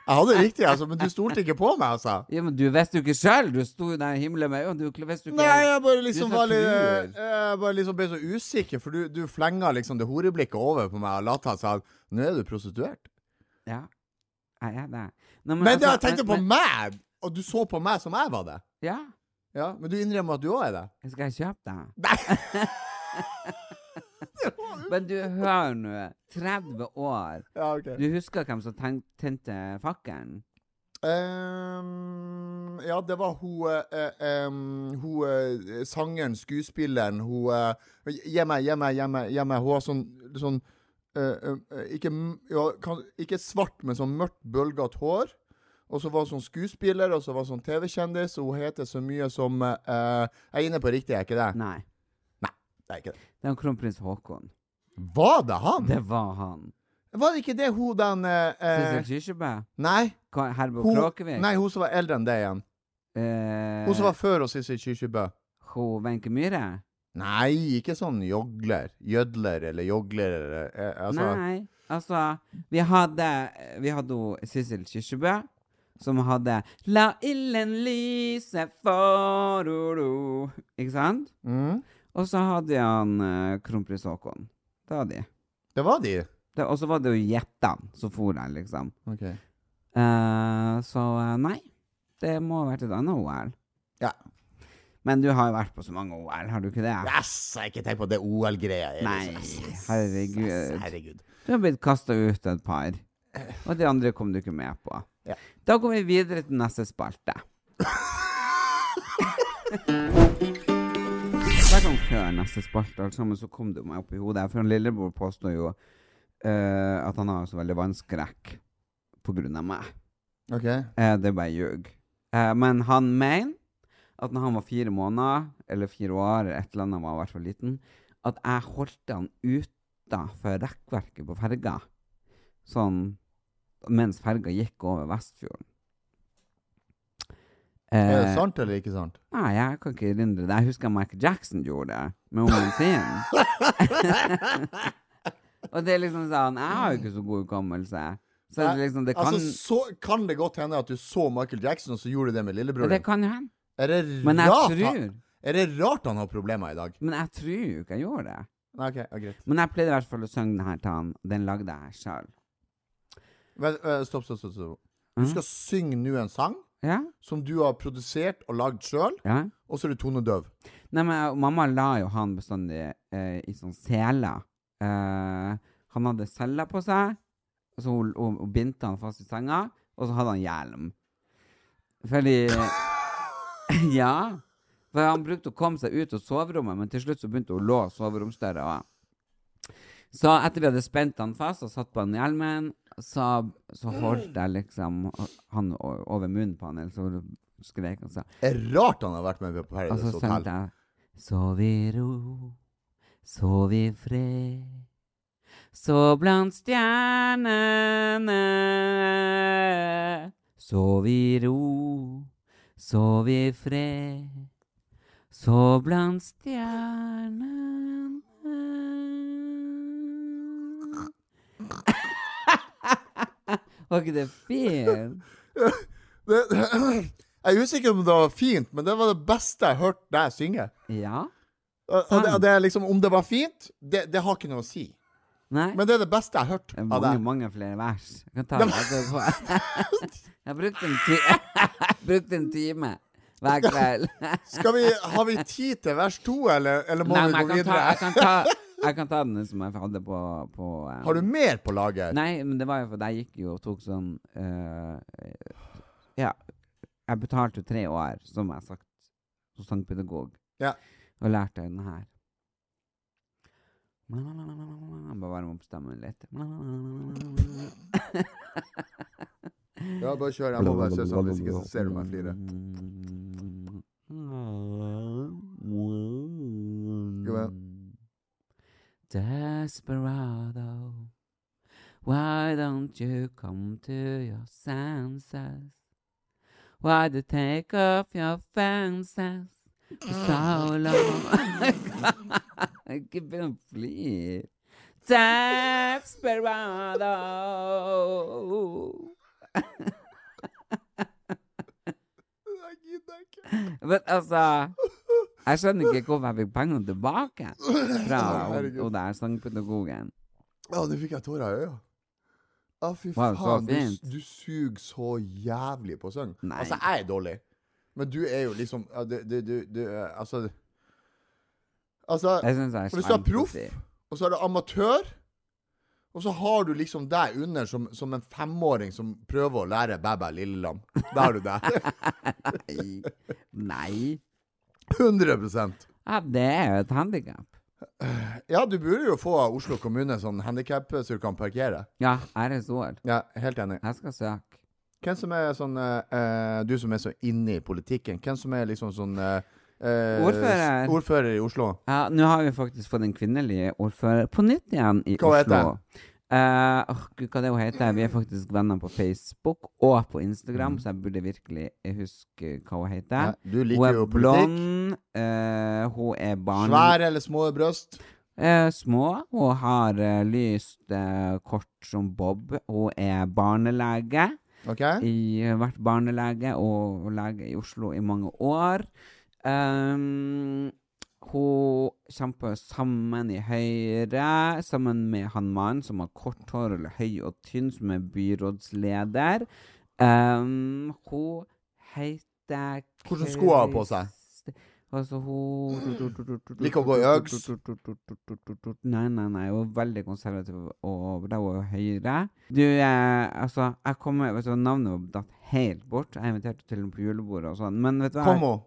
Speaker 4: Jeg hadde riktig, altså, men du stolte ikke på meg, altså.
Speaker 3: ja. Men du visste jo ikke sjøl! Du sto jo der i himmelen med øynene. Du ikke- visste jo ikke
Speaker 4: Nei, jeg bare liksom
Speaker 3: Du
Speaker 4: var
Speaker 3: sa
Speaker 4: litt
Speaker 3: kruer.
Speaker 4: Jeg bare liksom ble så usikker, for du, du flenga liksom det horeblikket over på meg og lata som Nå er du prostituert.
Speaker 3: Ja. Jeg er det. Nei,
Speaker 4: Men
Speaker 3: altså,
Speaker 4: jeg tenkte på
Speaker 3: men-
Speaker 4: meg! Og du så på meg som jeg var det.
Speaker 3: Ja.
Speaker 4: Ja, Men du innrømmer at du òg er det?
Speaker 3: Skal jeg kjøpe deg?
Speaker 4: Nei!
Speaker 3: Men du, hør nå. 30 år.
Speaker 4: Ja, ok.
Speaker 3: Du husker hvem som ten- tente fakkelen?
Speaker 4: Ehm, ja, det var hun eh, ehm, Hun eh, sangeren, skuespilleren Hun eh, Gi meg, gi meg, gi meg, gi meg. Hun har sånn, sånn eh, eh, ikke, m- ja, kan, ikke svart, men sånn mørkt, bølgete hår. Og så var hun sånn skuespiller, og så var hun sånn TV-kjendis, og hun heter så mye som eh, eh, Jeg er inne på riktig, er jeg ikke det?
Speaker 3: Nei,
Speaker 4: Det er ikke det.
Speaker 3: det var kronprins Haakon.
Speaker 4: Var det han?
Speaker 3: Det var han.
Speaker 4: Var det ikke det hun den eh, eh,
Speaker 3: Sissel Kyrkjebø?
Speaker 4: Nei.
Speaker 3: Ka- Herbo
Speaker 4: Hun,
Speaker 3: Kråkevik?
Speaker 4: nei, hun som var eldre enn deg igjen.
Speaker 3: Eh,
Speaker 4: Hun som var før oss i Kyrkjebø.
Speaker 3: hun Wenche Myhre?
Speaker 4: Nei, ikke sånn jogler. Jødler eller jogler eller eh, altså,
Speaker 3: Nei. Altså, vi hadde Vi hadde hun Sissel Kyrkjebø. Som hadde 'La ilden lyse for uro'. Ikke sant?
Speaker 4: Mm,
Speaker 3: Og så hadde vi han eh, kronprins Haakon. Det var de.
Speaker 4: det var de.
Speaker 3: Det- Og så var det jo gjettene som for der, liksom.
Speaker 4: Ok.
Speaker 3: Eh, så eh, nei, det må ha vært et annet OL.
Speaker 4: Ja.
Speaker 3: Men du har jo vært på så mange OL, har du ikke det?
Speaker 4: Yes, jeg har ikke tenkt på det OL-greia. Jeg-
Speaker 3: Nei,
Speaker 4: yes, yes,
Speaker 3: herregud.
Speaker 4: yes, herregud.
Speaker 3: Du har blitt kasta ut et par. Og de andre kom du ikke med på.
Speaker 4: Ja.
Speaker 3: Da går vi videre til neste spalte. Hver gang før neste spalte alt sammen, så kom det meg opp i hodet. For han lillebror påstår jo eh, at han har så veldig vannskrekk på grunn av meg.
Speaker 4: Ok.
Speaker 3: Eh, det er bare ljug. Eh, men han mener at når han var fire måneder, eller fire år, eller et eller annet, han var i hvert fall liten, at jeg holdt han utafor rekkverket på ferga. Sånn mens ferga gikk over Vestfjorden.
Speaker 4: Er det
Speaker 3: Eh,
Speaker 4: sant eller ikke sant?
Speaker 3: Nei, jeg kan ikke erindre det. Jeg husker Michael Jackson gjorde det med ungen sin. Og det er liksom sånn Jeg har jo ikke så god hukommelse. Så det, er liksom, det kan
Speaker 4: Altså, så kan det godt hende at du så Michael Jackson, og så gjorde du det med lillebror.
Speaker 3: Det
Speaker 4: din.
Speaker 3: kan jo hende.
Speaker 4: Er det
Speaker 3: Men jeg
Speaker 4: rart
Speaker 3: tror
Speaker 4: han, Er det rart han har problemer i dag?
Speaker 3: Men jeg tror jo ikke jeg gjorde det.
Speaker 4: Nei, ok, ja, greit.
Speaker 3: Men jeg pleide i hvert fall å synge den her til han. Den lagde jeg sjøl.
Speaker 4: Men, eh, stopp, stopp, stopp. stopp. Du
Speaker 3: Mm.
Speaker 4: skal synge nå en sang
Speaker 3: Ja?
Speaker 4: som du har produsert og lagd sjøl,
Speaker 3: ja.
Speaker 4: og så er du tonedøv.
Speaker 3: Nei, men jeg- mamma la jo han bestandig eh, i sånn seler. Eh, han hadde seler på seg, så hun, hun, hun bindte han fast i senga, og så hadde han hjelm. Fordi Ja. For han brukte å komme seg ut av soverommet, men til slutt så begynte hun å låse soveromsdøra. også. Så etter vi hadde spent han fast og satt på han hjelmen, sa, så holdt jeg liksom han o- over munnen på han, eller så skrek han sånn.
Speaker 4: Er rart han har vært med på
Speaker 3: Og
Speaker 4: Paradise
Speaker 3: så
Speaker 4: Hotel.
Speaker 3: sendte jeg Altså, Sov i ro, sov i fred. Så blant stjernene. Sov i ro, sov i fred. Så blant stjernene. Var ikke det fint?
Speaker 4: Det, jeg er usikker om det var fint, men det var det beste jeg hørte deg synge.
Speaker 3: Ja?
Speaker 4: Og, og det, og det er liksom, om det var fint, det, det har ikke noe å si.
Speaker 3: Nei?
Speaker 4: Men det er det beste jeg har hørt
Speaker 3: Det er
Speaker 4: av
Speaker 3: mange,
Speaker 4: deg.
Speaker 3: mange flere vers. Jeg kan ta det etterpå. Jeg har brukt en, ti jeg brukt en time hver kveld.
Speaker 4: Skal vi, har vi tid til vers to, eller, eller må
Speaker 3: Nei, men
Speaker 4: vi
Speaker 3: jeg kan,
Speaker 4: gå
Speaker 3: ta, jeg,
Speaker 4: videre?
Speaker 3: kan ta, jeg kan ta den som jeg hadde på, på eh,
Speaker 4: Har du mer på lager?
Speaker 3: Nei, men det var jo for jeg gikk jo og tok sånn eh, Ja, jeg betalte jo tre år, som jeg har sagt, som sangpedagog,
Speaker 4: Ja.
Speaker 3: og lærte den her. Bare varme opp stemmen litt.
Speaker 4: Ja, bare kjør. Jeg må bare se sånn, hvis ikke så ser du meg flire.
Speaker 3: Desperado, why don't you come to your senses? Why do you take off your fences for so Oh long? Ikke begynn å flire. Desperado.
Speaker 4: Jeg gidder ikke.
Speaker 3: Men altså Jeg skjønner ikke hvorfor jeg fikk pengene tilbake fra
Speaker 4: Å,
Speaker 3: hun
Speaker 4: herregud.
Speaker 3: hun der sangpedagogen.
Speaker 4: Ja, nå fikk jeg tårer i øya. Å, fy
Speaker 3: Wow, så
Speaker 4: faen.
Speaker 3: fint.
Speaker 4: Du, du suger så jævlig på søvn.
Speaker 3: Nei.
Speaker 4: Altså, jeg er dårlig. Men du er jo liksom ja, du, du, du, du, eh, Altså Altså,
Speaker 3: Jeg synes jeg er
Speaker 4: for hvis du er
Speaker 3: kjempegodt
Speaker 4: proff, og så er du amatør, og så har du liksom deg under som, som en femåring som prøver å lære bæ-bæ lillelam. Da har du deg.
Speaker 3: i- Nei.
Speaker 4: 100
Speaker 3: Ja, det er jo et handikap.
Speaker 4: Ja, du burde jo få av Oslo kommune sånn handikap så du kan parkere.
Speaker 3: Ja, RS-år.
Speaker 4: Ja, helt enig.
Speaker 3: Jeg skal søke.
Speaker 4: Hvem som er sånn eh, eh, Du som er så inne i politikken, hvem som er liksom sånn eh, eh,
Speaker 3: Ordfører.
Speaker 4: s- Ordfører i Oslo.
Speaker 3: Ja, Nå har vi faktisk fått en kvinnelig ordfører på nytt igjen i
Speaker 4: Hva heter
Speaker 3: Oslo. Eh, åh, Gud, hva det hun heter Vi er faktisk venner på Facebook og på Instagram, så jeg burde virkelig huske hva hun heter.
Speaker 4: Mm. Ja, du
Speaker 3: hun
Speaker 4: liker
Speaker 3: er
Speaker 4: jo politikk.
Speaker 3: blond. eh, hun er barn...
Speaker 4: Svære eller små bryst.
Speaker 3: Eh, små. Hun har eh, lyst eh, kort som Bob. Hun er barnelege.
Speaker 4: OK?
Speaker 3: I, vært barnelege og, og lege i Oslo i mange år. Um, hun kjemper sammen i Høyre, sammen med han mannen som har kort hår eller høy og tynn, som er byrådsleder. Um, hun heter
Speaker 4: Hvordan sko har hun på seg?
Speaker 3: Krist- Altså, hun
Speaker 4: Liker å gå i
Speaker 3: Uggs? Nei, nei, nei. Hun er veldig konservativ, og da var hun høyre. Du, eh, altså, jeg kommer Vet du hva, navnet var datt helt bort. Jeg inviterte til og med på julebordet og sånn, men vet du hva?
Speaker 4: Kom henne.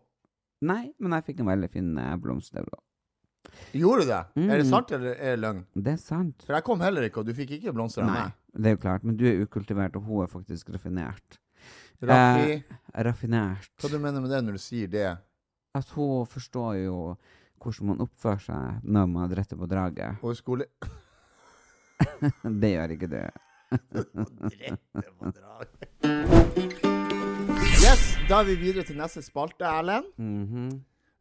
Speaker 3: Nei, men jeg fikk en veldig fin eh, blomst der også.
Speaker 4: Gjorde du det?
Speaker 3: Mm.
Speaker 4: Er det sant, eller er det løgn?
Speaker 3: Det er sant.
Speaker 4: For jeg kom heller ikke, og du fikk ikke blomster av
Speaker 3: Nei,
Speaker 4: meg.
Speaker 3: det er jo klart. Men du er ukultivert, og hun er faktisk raffinert.
Speaker 4: Raffi,
Speaker 3: Eh. Raffinert.
Speaker 4: hva du mener med det når du sier det?
Speaker 3: At hun forstår jo hvordan man oppfører seg når man dritter på draget.
Speaker 4: Og skole...
Speaker 3: Det gjør ikke du.
Speaker 4: Yes, da er vi videre til neste spalte, Erlend.
Speaker 3: Mhm.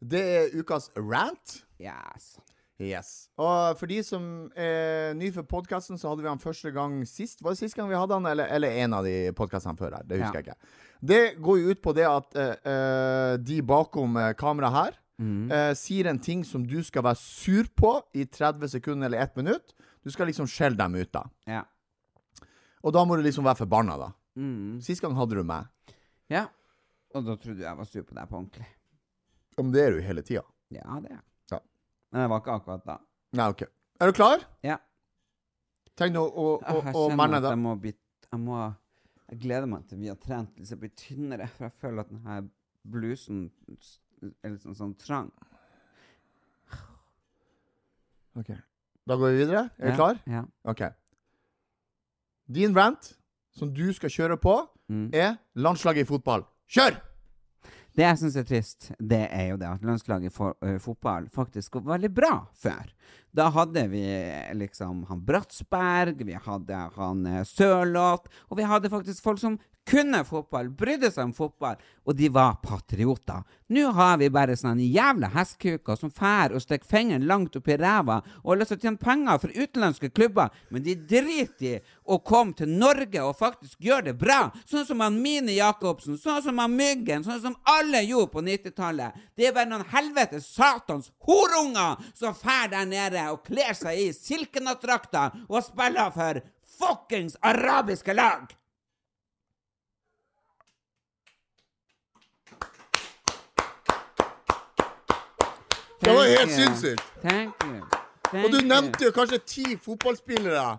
Speaker 4: Det er ukas rant.
Speaker 3: Yes.
Speaker 4: Yes. Og for de som er ny for podkasten, så hadde vi han første gang sist. Var det sist gang vi hadde han, eller, eller en av de podkastene før her? Det husker jeg ikke. Det går jo ut på det at eh, eh, de bakom eh, kamera her
Speaker 3: Mm.
Speaker 4: eh, sier en ting som du skal være sur på i 30 sekunder eller 1 minutt. Du skal liksom skjelle dem ut, da.
Speaker 3: Ja.
Speaker 4: Og da må du liksom være forbanna, da.
Speaker 3: Mm.
Speaker 4: Sist gang hadde du meg.
Speaker 3: ja. Og da trodde jeg var sur på deg på ordentlig.
Speaker 4: Ja, Men det er du hele tida.
Speaker 3: Ja, det er jeg.
Speaker 4: Ja.
Speaker 3: Men det var ikke akkurat da.
Speaker 4: Nei, OK. Er du klar?
Speaker 3: Ja.
Speaker 4: Tenk nå å, å,
Speaker 3: Åh, jeg
Speaker 4: å
Speaker 3: kjenner
Speaker 4: manne
Speaker 3: at
Speaker 4: deg.
Speaker 3: jeg må bli Jeg må Jeg gleder meg til vi har trent litt, så jeg blir tynnere. For jeg føler at denne blusen s- er litt sånn, sånn trang.
Speaker 4: Ok. Da går vi videre. Er du klar?
Speaker 3: Ja.
Speaker 4: OK. Din rant, som du skal kjøre på,
Speaker 3: Mm.
Speaker 4: er landslaget i fotball. Kjør!
Speaker 3: Det jeg syns er trist, det er jo det at landslaget for ø, fotball faktisk var veldig bra før. Da hadde vi eh, liksom han Bratsberg, vi hadde han eh, Sørloth, og vi hadde faktisk folk som kunne fotball, brydde seg om fotball, og de var patrioter. Nå har vi bare sånne jævla hestkuker som fær og stikker fingeren langt opp i ræva og har lyst til å tjene penger for utenlandske klubber, men de driter i å komme til Norge og faktisk gjøre det bra, sånn som han Mini Jacobsen, sånn som han Myggen, sånn som alle gjorde på 90-tallet. Det er bare noen helvetes satans horunger som fær der nede og kler seg i silkenattdrakter og spiller for fuckings arabiske lag!
Speaker 4: Det var helt
Speaker 3: Thank you.
Speaker 4: sinnssykt!
Speaker 3: Thank you. Thank
Speaker 4: Og du
Speaker 3: you.
Speaker 4: nevnte jo kanskje ti fotballspillere.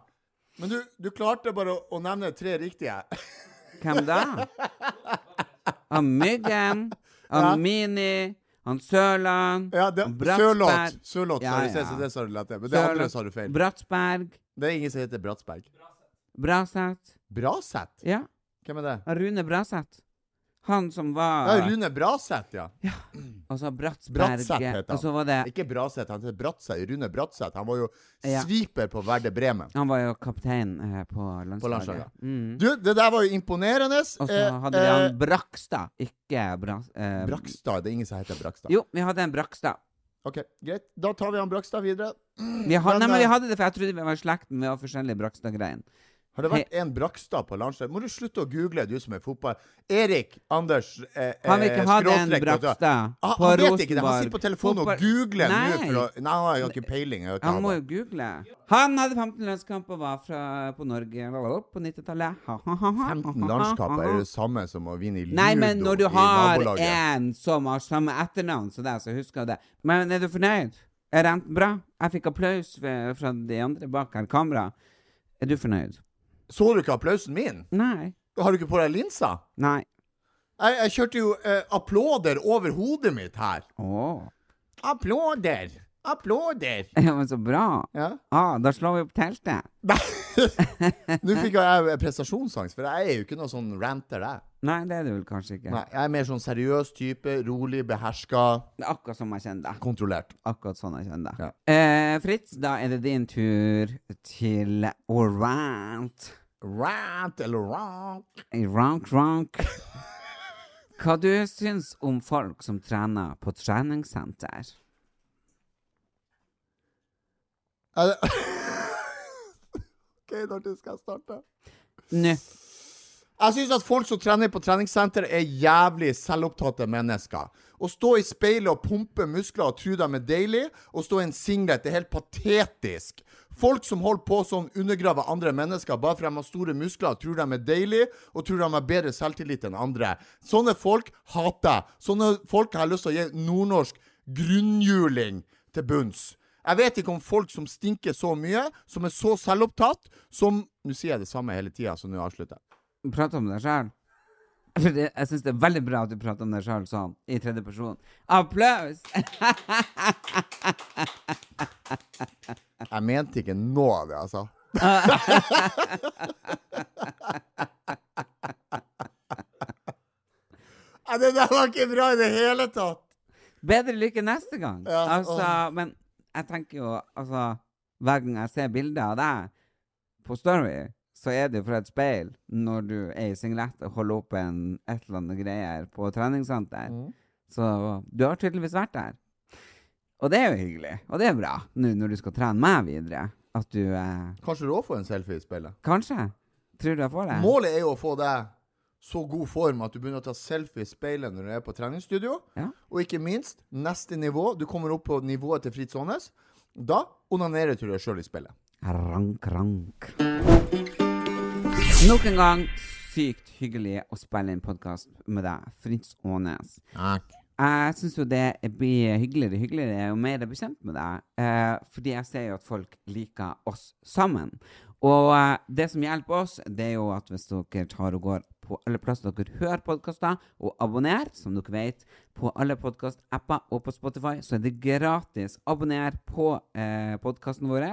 Speaker 4: Men du, du klarte bare å, å nevne tre riktige.
Speaker 3: Hvem da? Han Myggen, han Mini, han Sørland,
Speaker 4: Ja, det,
Speaker 3: han
Speaker 4: Sørloth. Sørloth,
Speaker 3: Ja,
Speaker 4: sa du.
Speaker 3: ja.
Speaker 4: Se, så det sa du lett. Men det andre
Speaker 3: Sørloth,
Speaker 4: sa du feil.
Speaker 3: Bratsberg,
Speaker 4: Det er ingen som heter Bratsberg.
Speaker 3: Braseth.
Speaker 4: Braseth?
Speaker 3: Ja,
Speaker 4: Hvem er det?
Speaker 3: han Rune Braseth. Han som
Speaker 4: Ja,
Speaker 3: var
Speaker 4: Rune Braseth, ja.
Speaker 3: Og så Bratsberg.
Speaker 4: Bratseth heter han.
Speaker 3: Og så var det
Speaker 4: Ikke Braseth, han heter Bratseth. Rune Bratseth. Han var jo
Speaker 3: Ja.
Speaker 4: sviper på Verde Bremen.
Speaker 3: Han var jo kaptein eh, på landslaget.
Speaker 4: På landslaget.
Speaker 3: Mm.
Speaker 4: Du, det der var jo imponerende.
Speaker 3: Og så
Speaker 4: Eh,
Speaker 3: hadde vi han
Speaker 4: eh,
Speaker 3: Brakstad, ikke Bra... Eh,
Speaker 4: Brakstad. Det er ingen som heter Brakstad.
Speaker 3: Jo, vi hadde en Brakstad.
Speaker 4: Ok, Greit. Da tar vi han Brakstad videre.
Speaker 3: Vi hadde,
Speaker 4: Men,
Speaker 3: nei, men
Speaker 4: eh,
Speaker 3: vi hadde det, for jeg trodde vi var i slekt, men vi var forskjellige Brakstad-greier.
Speaker 4: Har det vært en Brakstad på landslaget? Må du slutte å google, du som er fotball... Erik Anders eh,
Speaker 3: Han vil ikke ha
Speaker 4: eh,
Speaker 3: den
Speaker 4: skråstrek, vet du.
Speaker 3: Brakstad
Speaker 4: Ah,
Speaker 3: på
Speaker 4: han vet ikke det. Han
Speaker 3: Rosenborg.
Speaker 4: sitter på telefonen
Speaker 3: Fotball-
Speaker 4: og googler nå.
Speaker 3: Nei.
Speaker 4: For å, nei, han har jo ikke peiling. jeg vet ikke
Speaker 3: Han må
Speaker 4: hva
Speaker 3: jo google. Han hadde 15 landskamper og var fra, på Norge på 90-tallet. Ha, ha, ha, ha,
Speaker 4: det er. 15
Speaker 3: ha, ha,
Speaker 4: landskamper
Speaker 3: ha,
Speaker 4: er
Speaker 3: ha.
Speaker 4: det samme som å vinne i ludo
Speaker 3: Nei, men når du
Speaker 4: i
Speaker 3: har eh,
Speaker 4: nabolaget.
Speaker 3: en som har samme etternavn som deg, så husker jeg det. Men er du fornøyd? Er renten bra? Jeg fikk applaus ved- fra de andre bak her kamera. Er du fornøyd?
Speaker 4: Så du ikke applausen min?
Speaker 3: Nei.
Speaker 4: Har du ikke på deg linsa?
Speaker 3: Nei.
Speaker 4: Jeg, jeg kjørte jo eh, applauder over hodet mitt her.
Speaker 3: Å.
Speaker 4: Applauder! Applauder!
Speaker 3: Ja, men så bra.
Speaker 4: Ja.
Speaker 3: Ah, da slår vi opp teltet.
Speaker 4: Nei. Nå fikk jeg prestasjonsangst, for jeg er jo ikke noen sånn ranter, jeg.
Speaker 3: Nei, det er du vel kanskje ikke.
Speaker 4: Nei, jeg er mer sånn seriøs type. Rolig, beherska,
Speaker 3: Det er akkurat som jeg kjenner deg.
Speaker 4: kontrollert.
Speaker 3: Akkurat sånn jeg kjenner det.
Speaker 4: Ja.
Speaker 3: Eh, Fritz, da er det din tur til Orant.
Speaker 4: Rant eller rant
Speaker 3: Rank, rank. Hva du syns om folk som trener på treningssenter?
Speaker 4: Er det- OK, når skal jeg starte?
Speaker 3: Nå.
Speaker 4: Jeg syns at folk som trener på treningssenter, er jævlig selvopptatte mennesker. Å stå i speilet og pumpe muskler og tro de er deilig, og stå i en singlet, det er helt patetisk. Folk som holder på sånn, undergraver andre mennesker bare fordi de har store muskler, tror de er deilig, og tror de har bedre selvtillit enn andre. Sånne folk hater jeg. Sånne folk har jeg lyst til å gi nordnorsk grunnhjuling til bunns. Jeg vet ikke om folk som stinker så mye, som er så selvopptatt, som Nå sier jeg det samme hele tida, så nå avslutter jeg.
Speaker 3: prate om deg sjøl. For det, jeg syns det er veldig bra at du prater om deg sjøl sånn, i tredje person. Applaus!
Speaker 4: Jeg mente ikke noe av det, altså. Nei, det der var ikke bra i det hele tatt.
Speaker 3: Bedre lykke neste gang.
Speaker 4: Ja,
Speaker 3: altså, men jeg tenker jo altså Hver gang jeg ser bilder av deg på Story, så er det jo fra et speil når du er i singlet og holder opp en et eller annet greier på treningssenter. Så du har tydeligvis vært der. Og det er jo hyggelig. Og det er bra nå når du skal trene meg videre. At du eh,
Speaker 4: Kanskje du òg får en selfie i speilet?
Speaker 3: Kanskje? Tror du jeg får det?
Speaker 4: Målet er jo å få deg så god form at du begynner å ta selfie i speilet når du er på treningsstudio.
Speaker 3: Ja.
Speaker 4: Og ikke minst, neste nivå Du kommer opp på nivået til Fritz Aanes. Da onanerer du deg sjøl i speilet.
Speaker 3: Rank, rank. Nok en gang sykt hyggelig å spille inn podkast med deg, Fritz Aanes. Jeg syns jo det blir hyggeligere og hyggeligere jo mer jeg blir kjent med deg. Eh, fordi jeg ser jo at folk liker oss sammen. Og eh, det som hjelper oss, det er jo at hvis dere tar og går på alle plasser dere hører podkaster, og abonner, som dere vet, på alle podkastapper og på Spotify, så er det gratis. Abonner på eh, podkasten vår.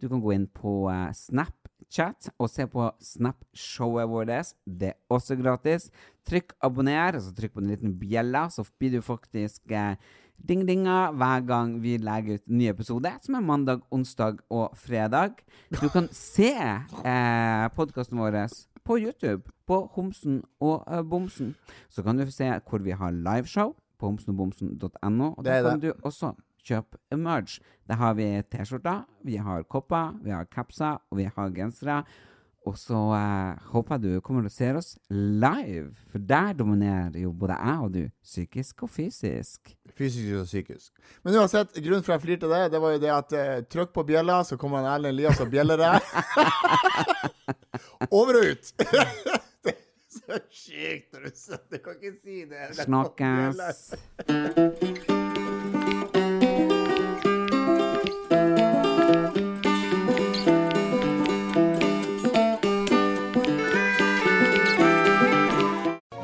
Speaker 3: Du kan gå inn på eh, Snap Snapchat og se på Snapshowet vårt. Det er også gratis. Trykk abonner, og så trykk på den liten bjella, så blir du faktisk eh, ding-dinga hver gang vi legger ut ny episode, som er mandag, onsdag og fredag. Du kan se eh, podkasten vår på YouTube, på Homsen og eh, Bomsen. Så kan du se hvor vi har liveshow på homsenogbomsen.no. Og
Speaker 4: Det
Speaker 3: da
Speaker 4: er
Speaker 3: kan
Speaker 4: det.
Speaker 3: du også kjøpe merge. Der har vi T-skjorter, vi har kopper, vi har capser, og vi har gensere. Og så eh, håper jeg du kommer og ser oss live, for der dominerer jo både jeg og du, psykisk og fysisk.
Speaker 4: Fysisk og psykisk. Men uansett, grunnen for at jeg flirte av det, det var jo det at eh, trykk på bjella, så kommer han Erlend Elias og bjeller deg. Over og ut! det er så sjukt, russe. Du kan ikke si det. Det er på bjella.
Speaker 3: Snakkes!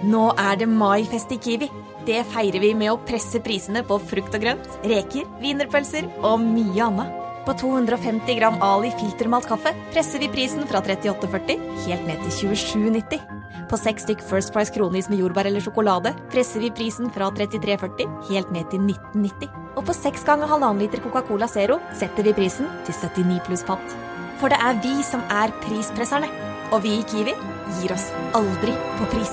Speaker 5: Nå er det maifest i Kiwi. Det feirer vi med å presse prisene på frukt og grønt, reker, wienerpølser og mye annet. På 250 gram Ali filtermalt kaffe presser vi prisen fra 38,40 helt ned til 27,90. På seks stykk First Price kronis med jordbær eller sjokolade presser vi prisen fra 33,40 helt ned til 19,90. Og på seks ganger halvannen liter Coca-Cola Zero setter vi prisen til 79 pluss pant. For det er vi som er prispresserne. Og vi i Kiwi gir oss aldri på pris.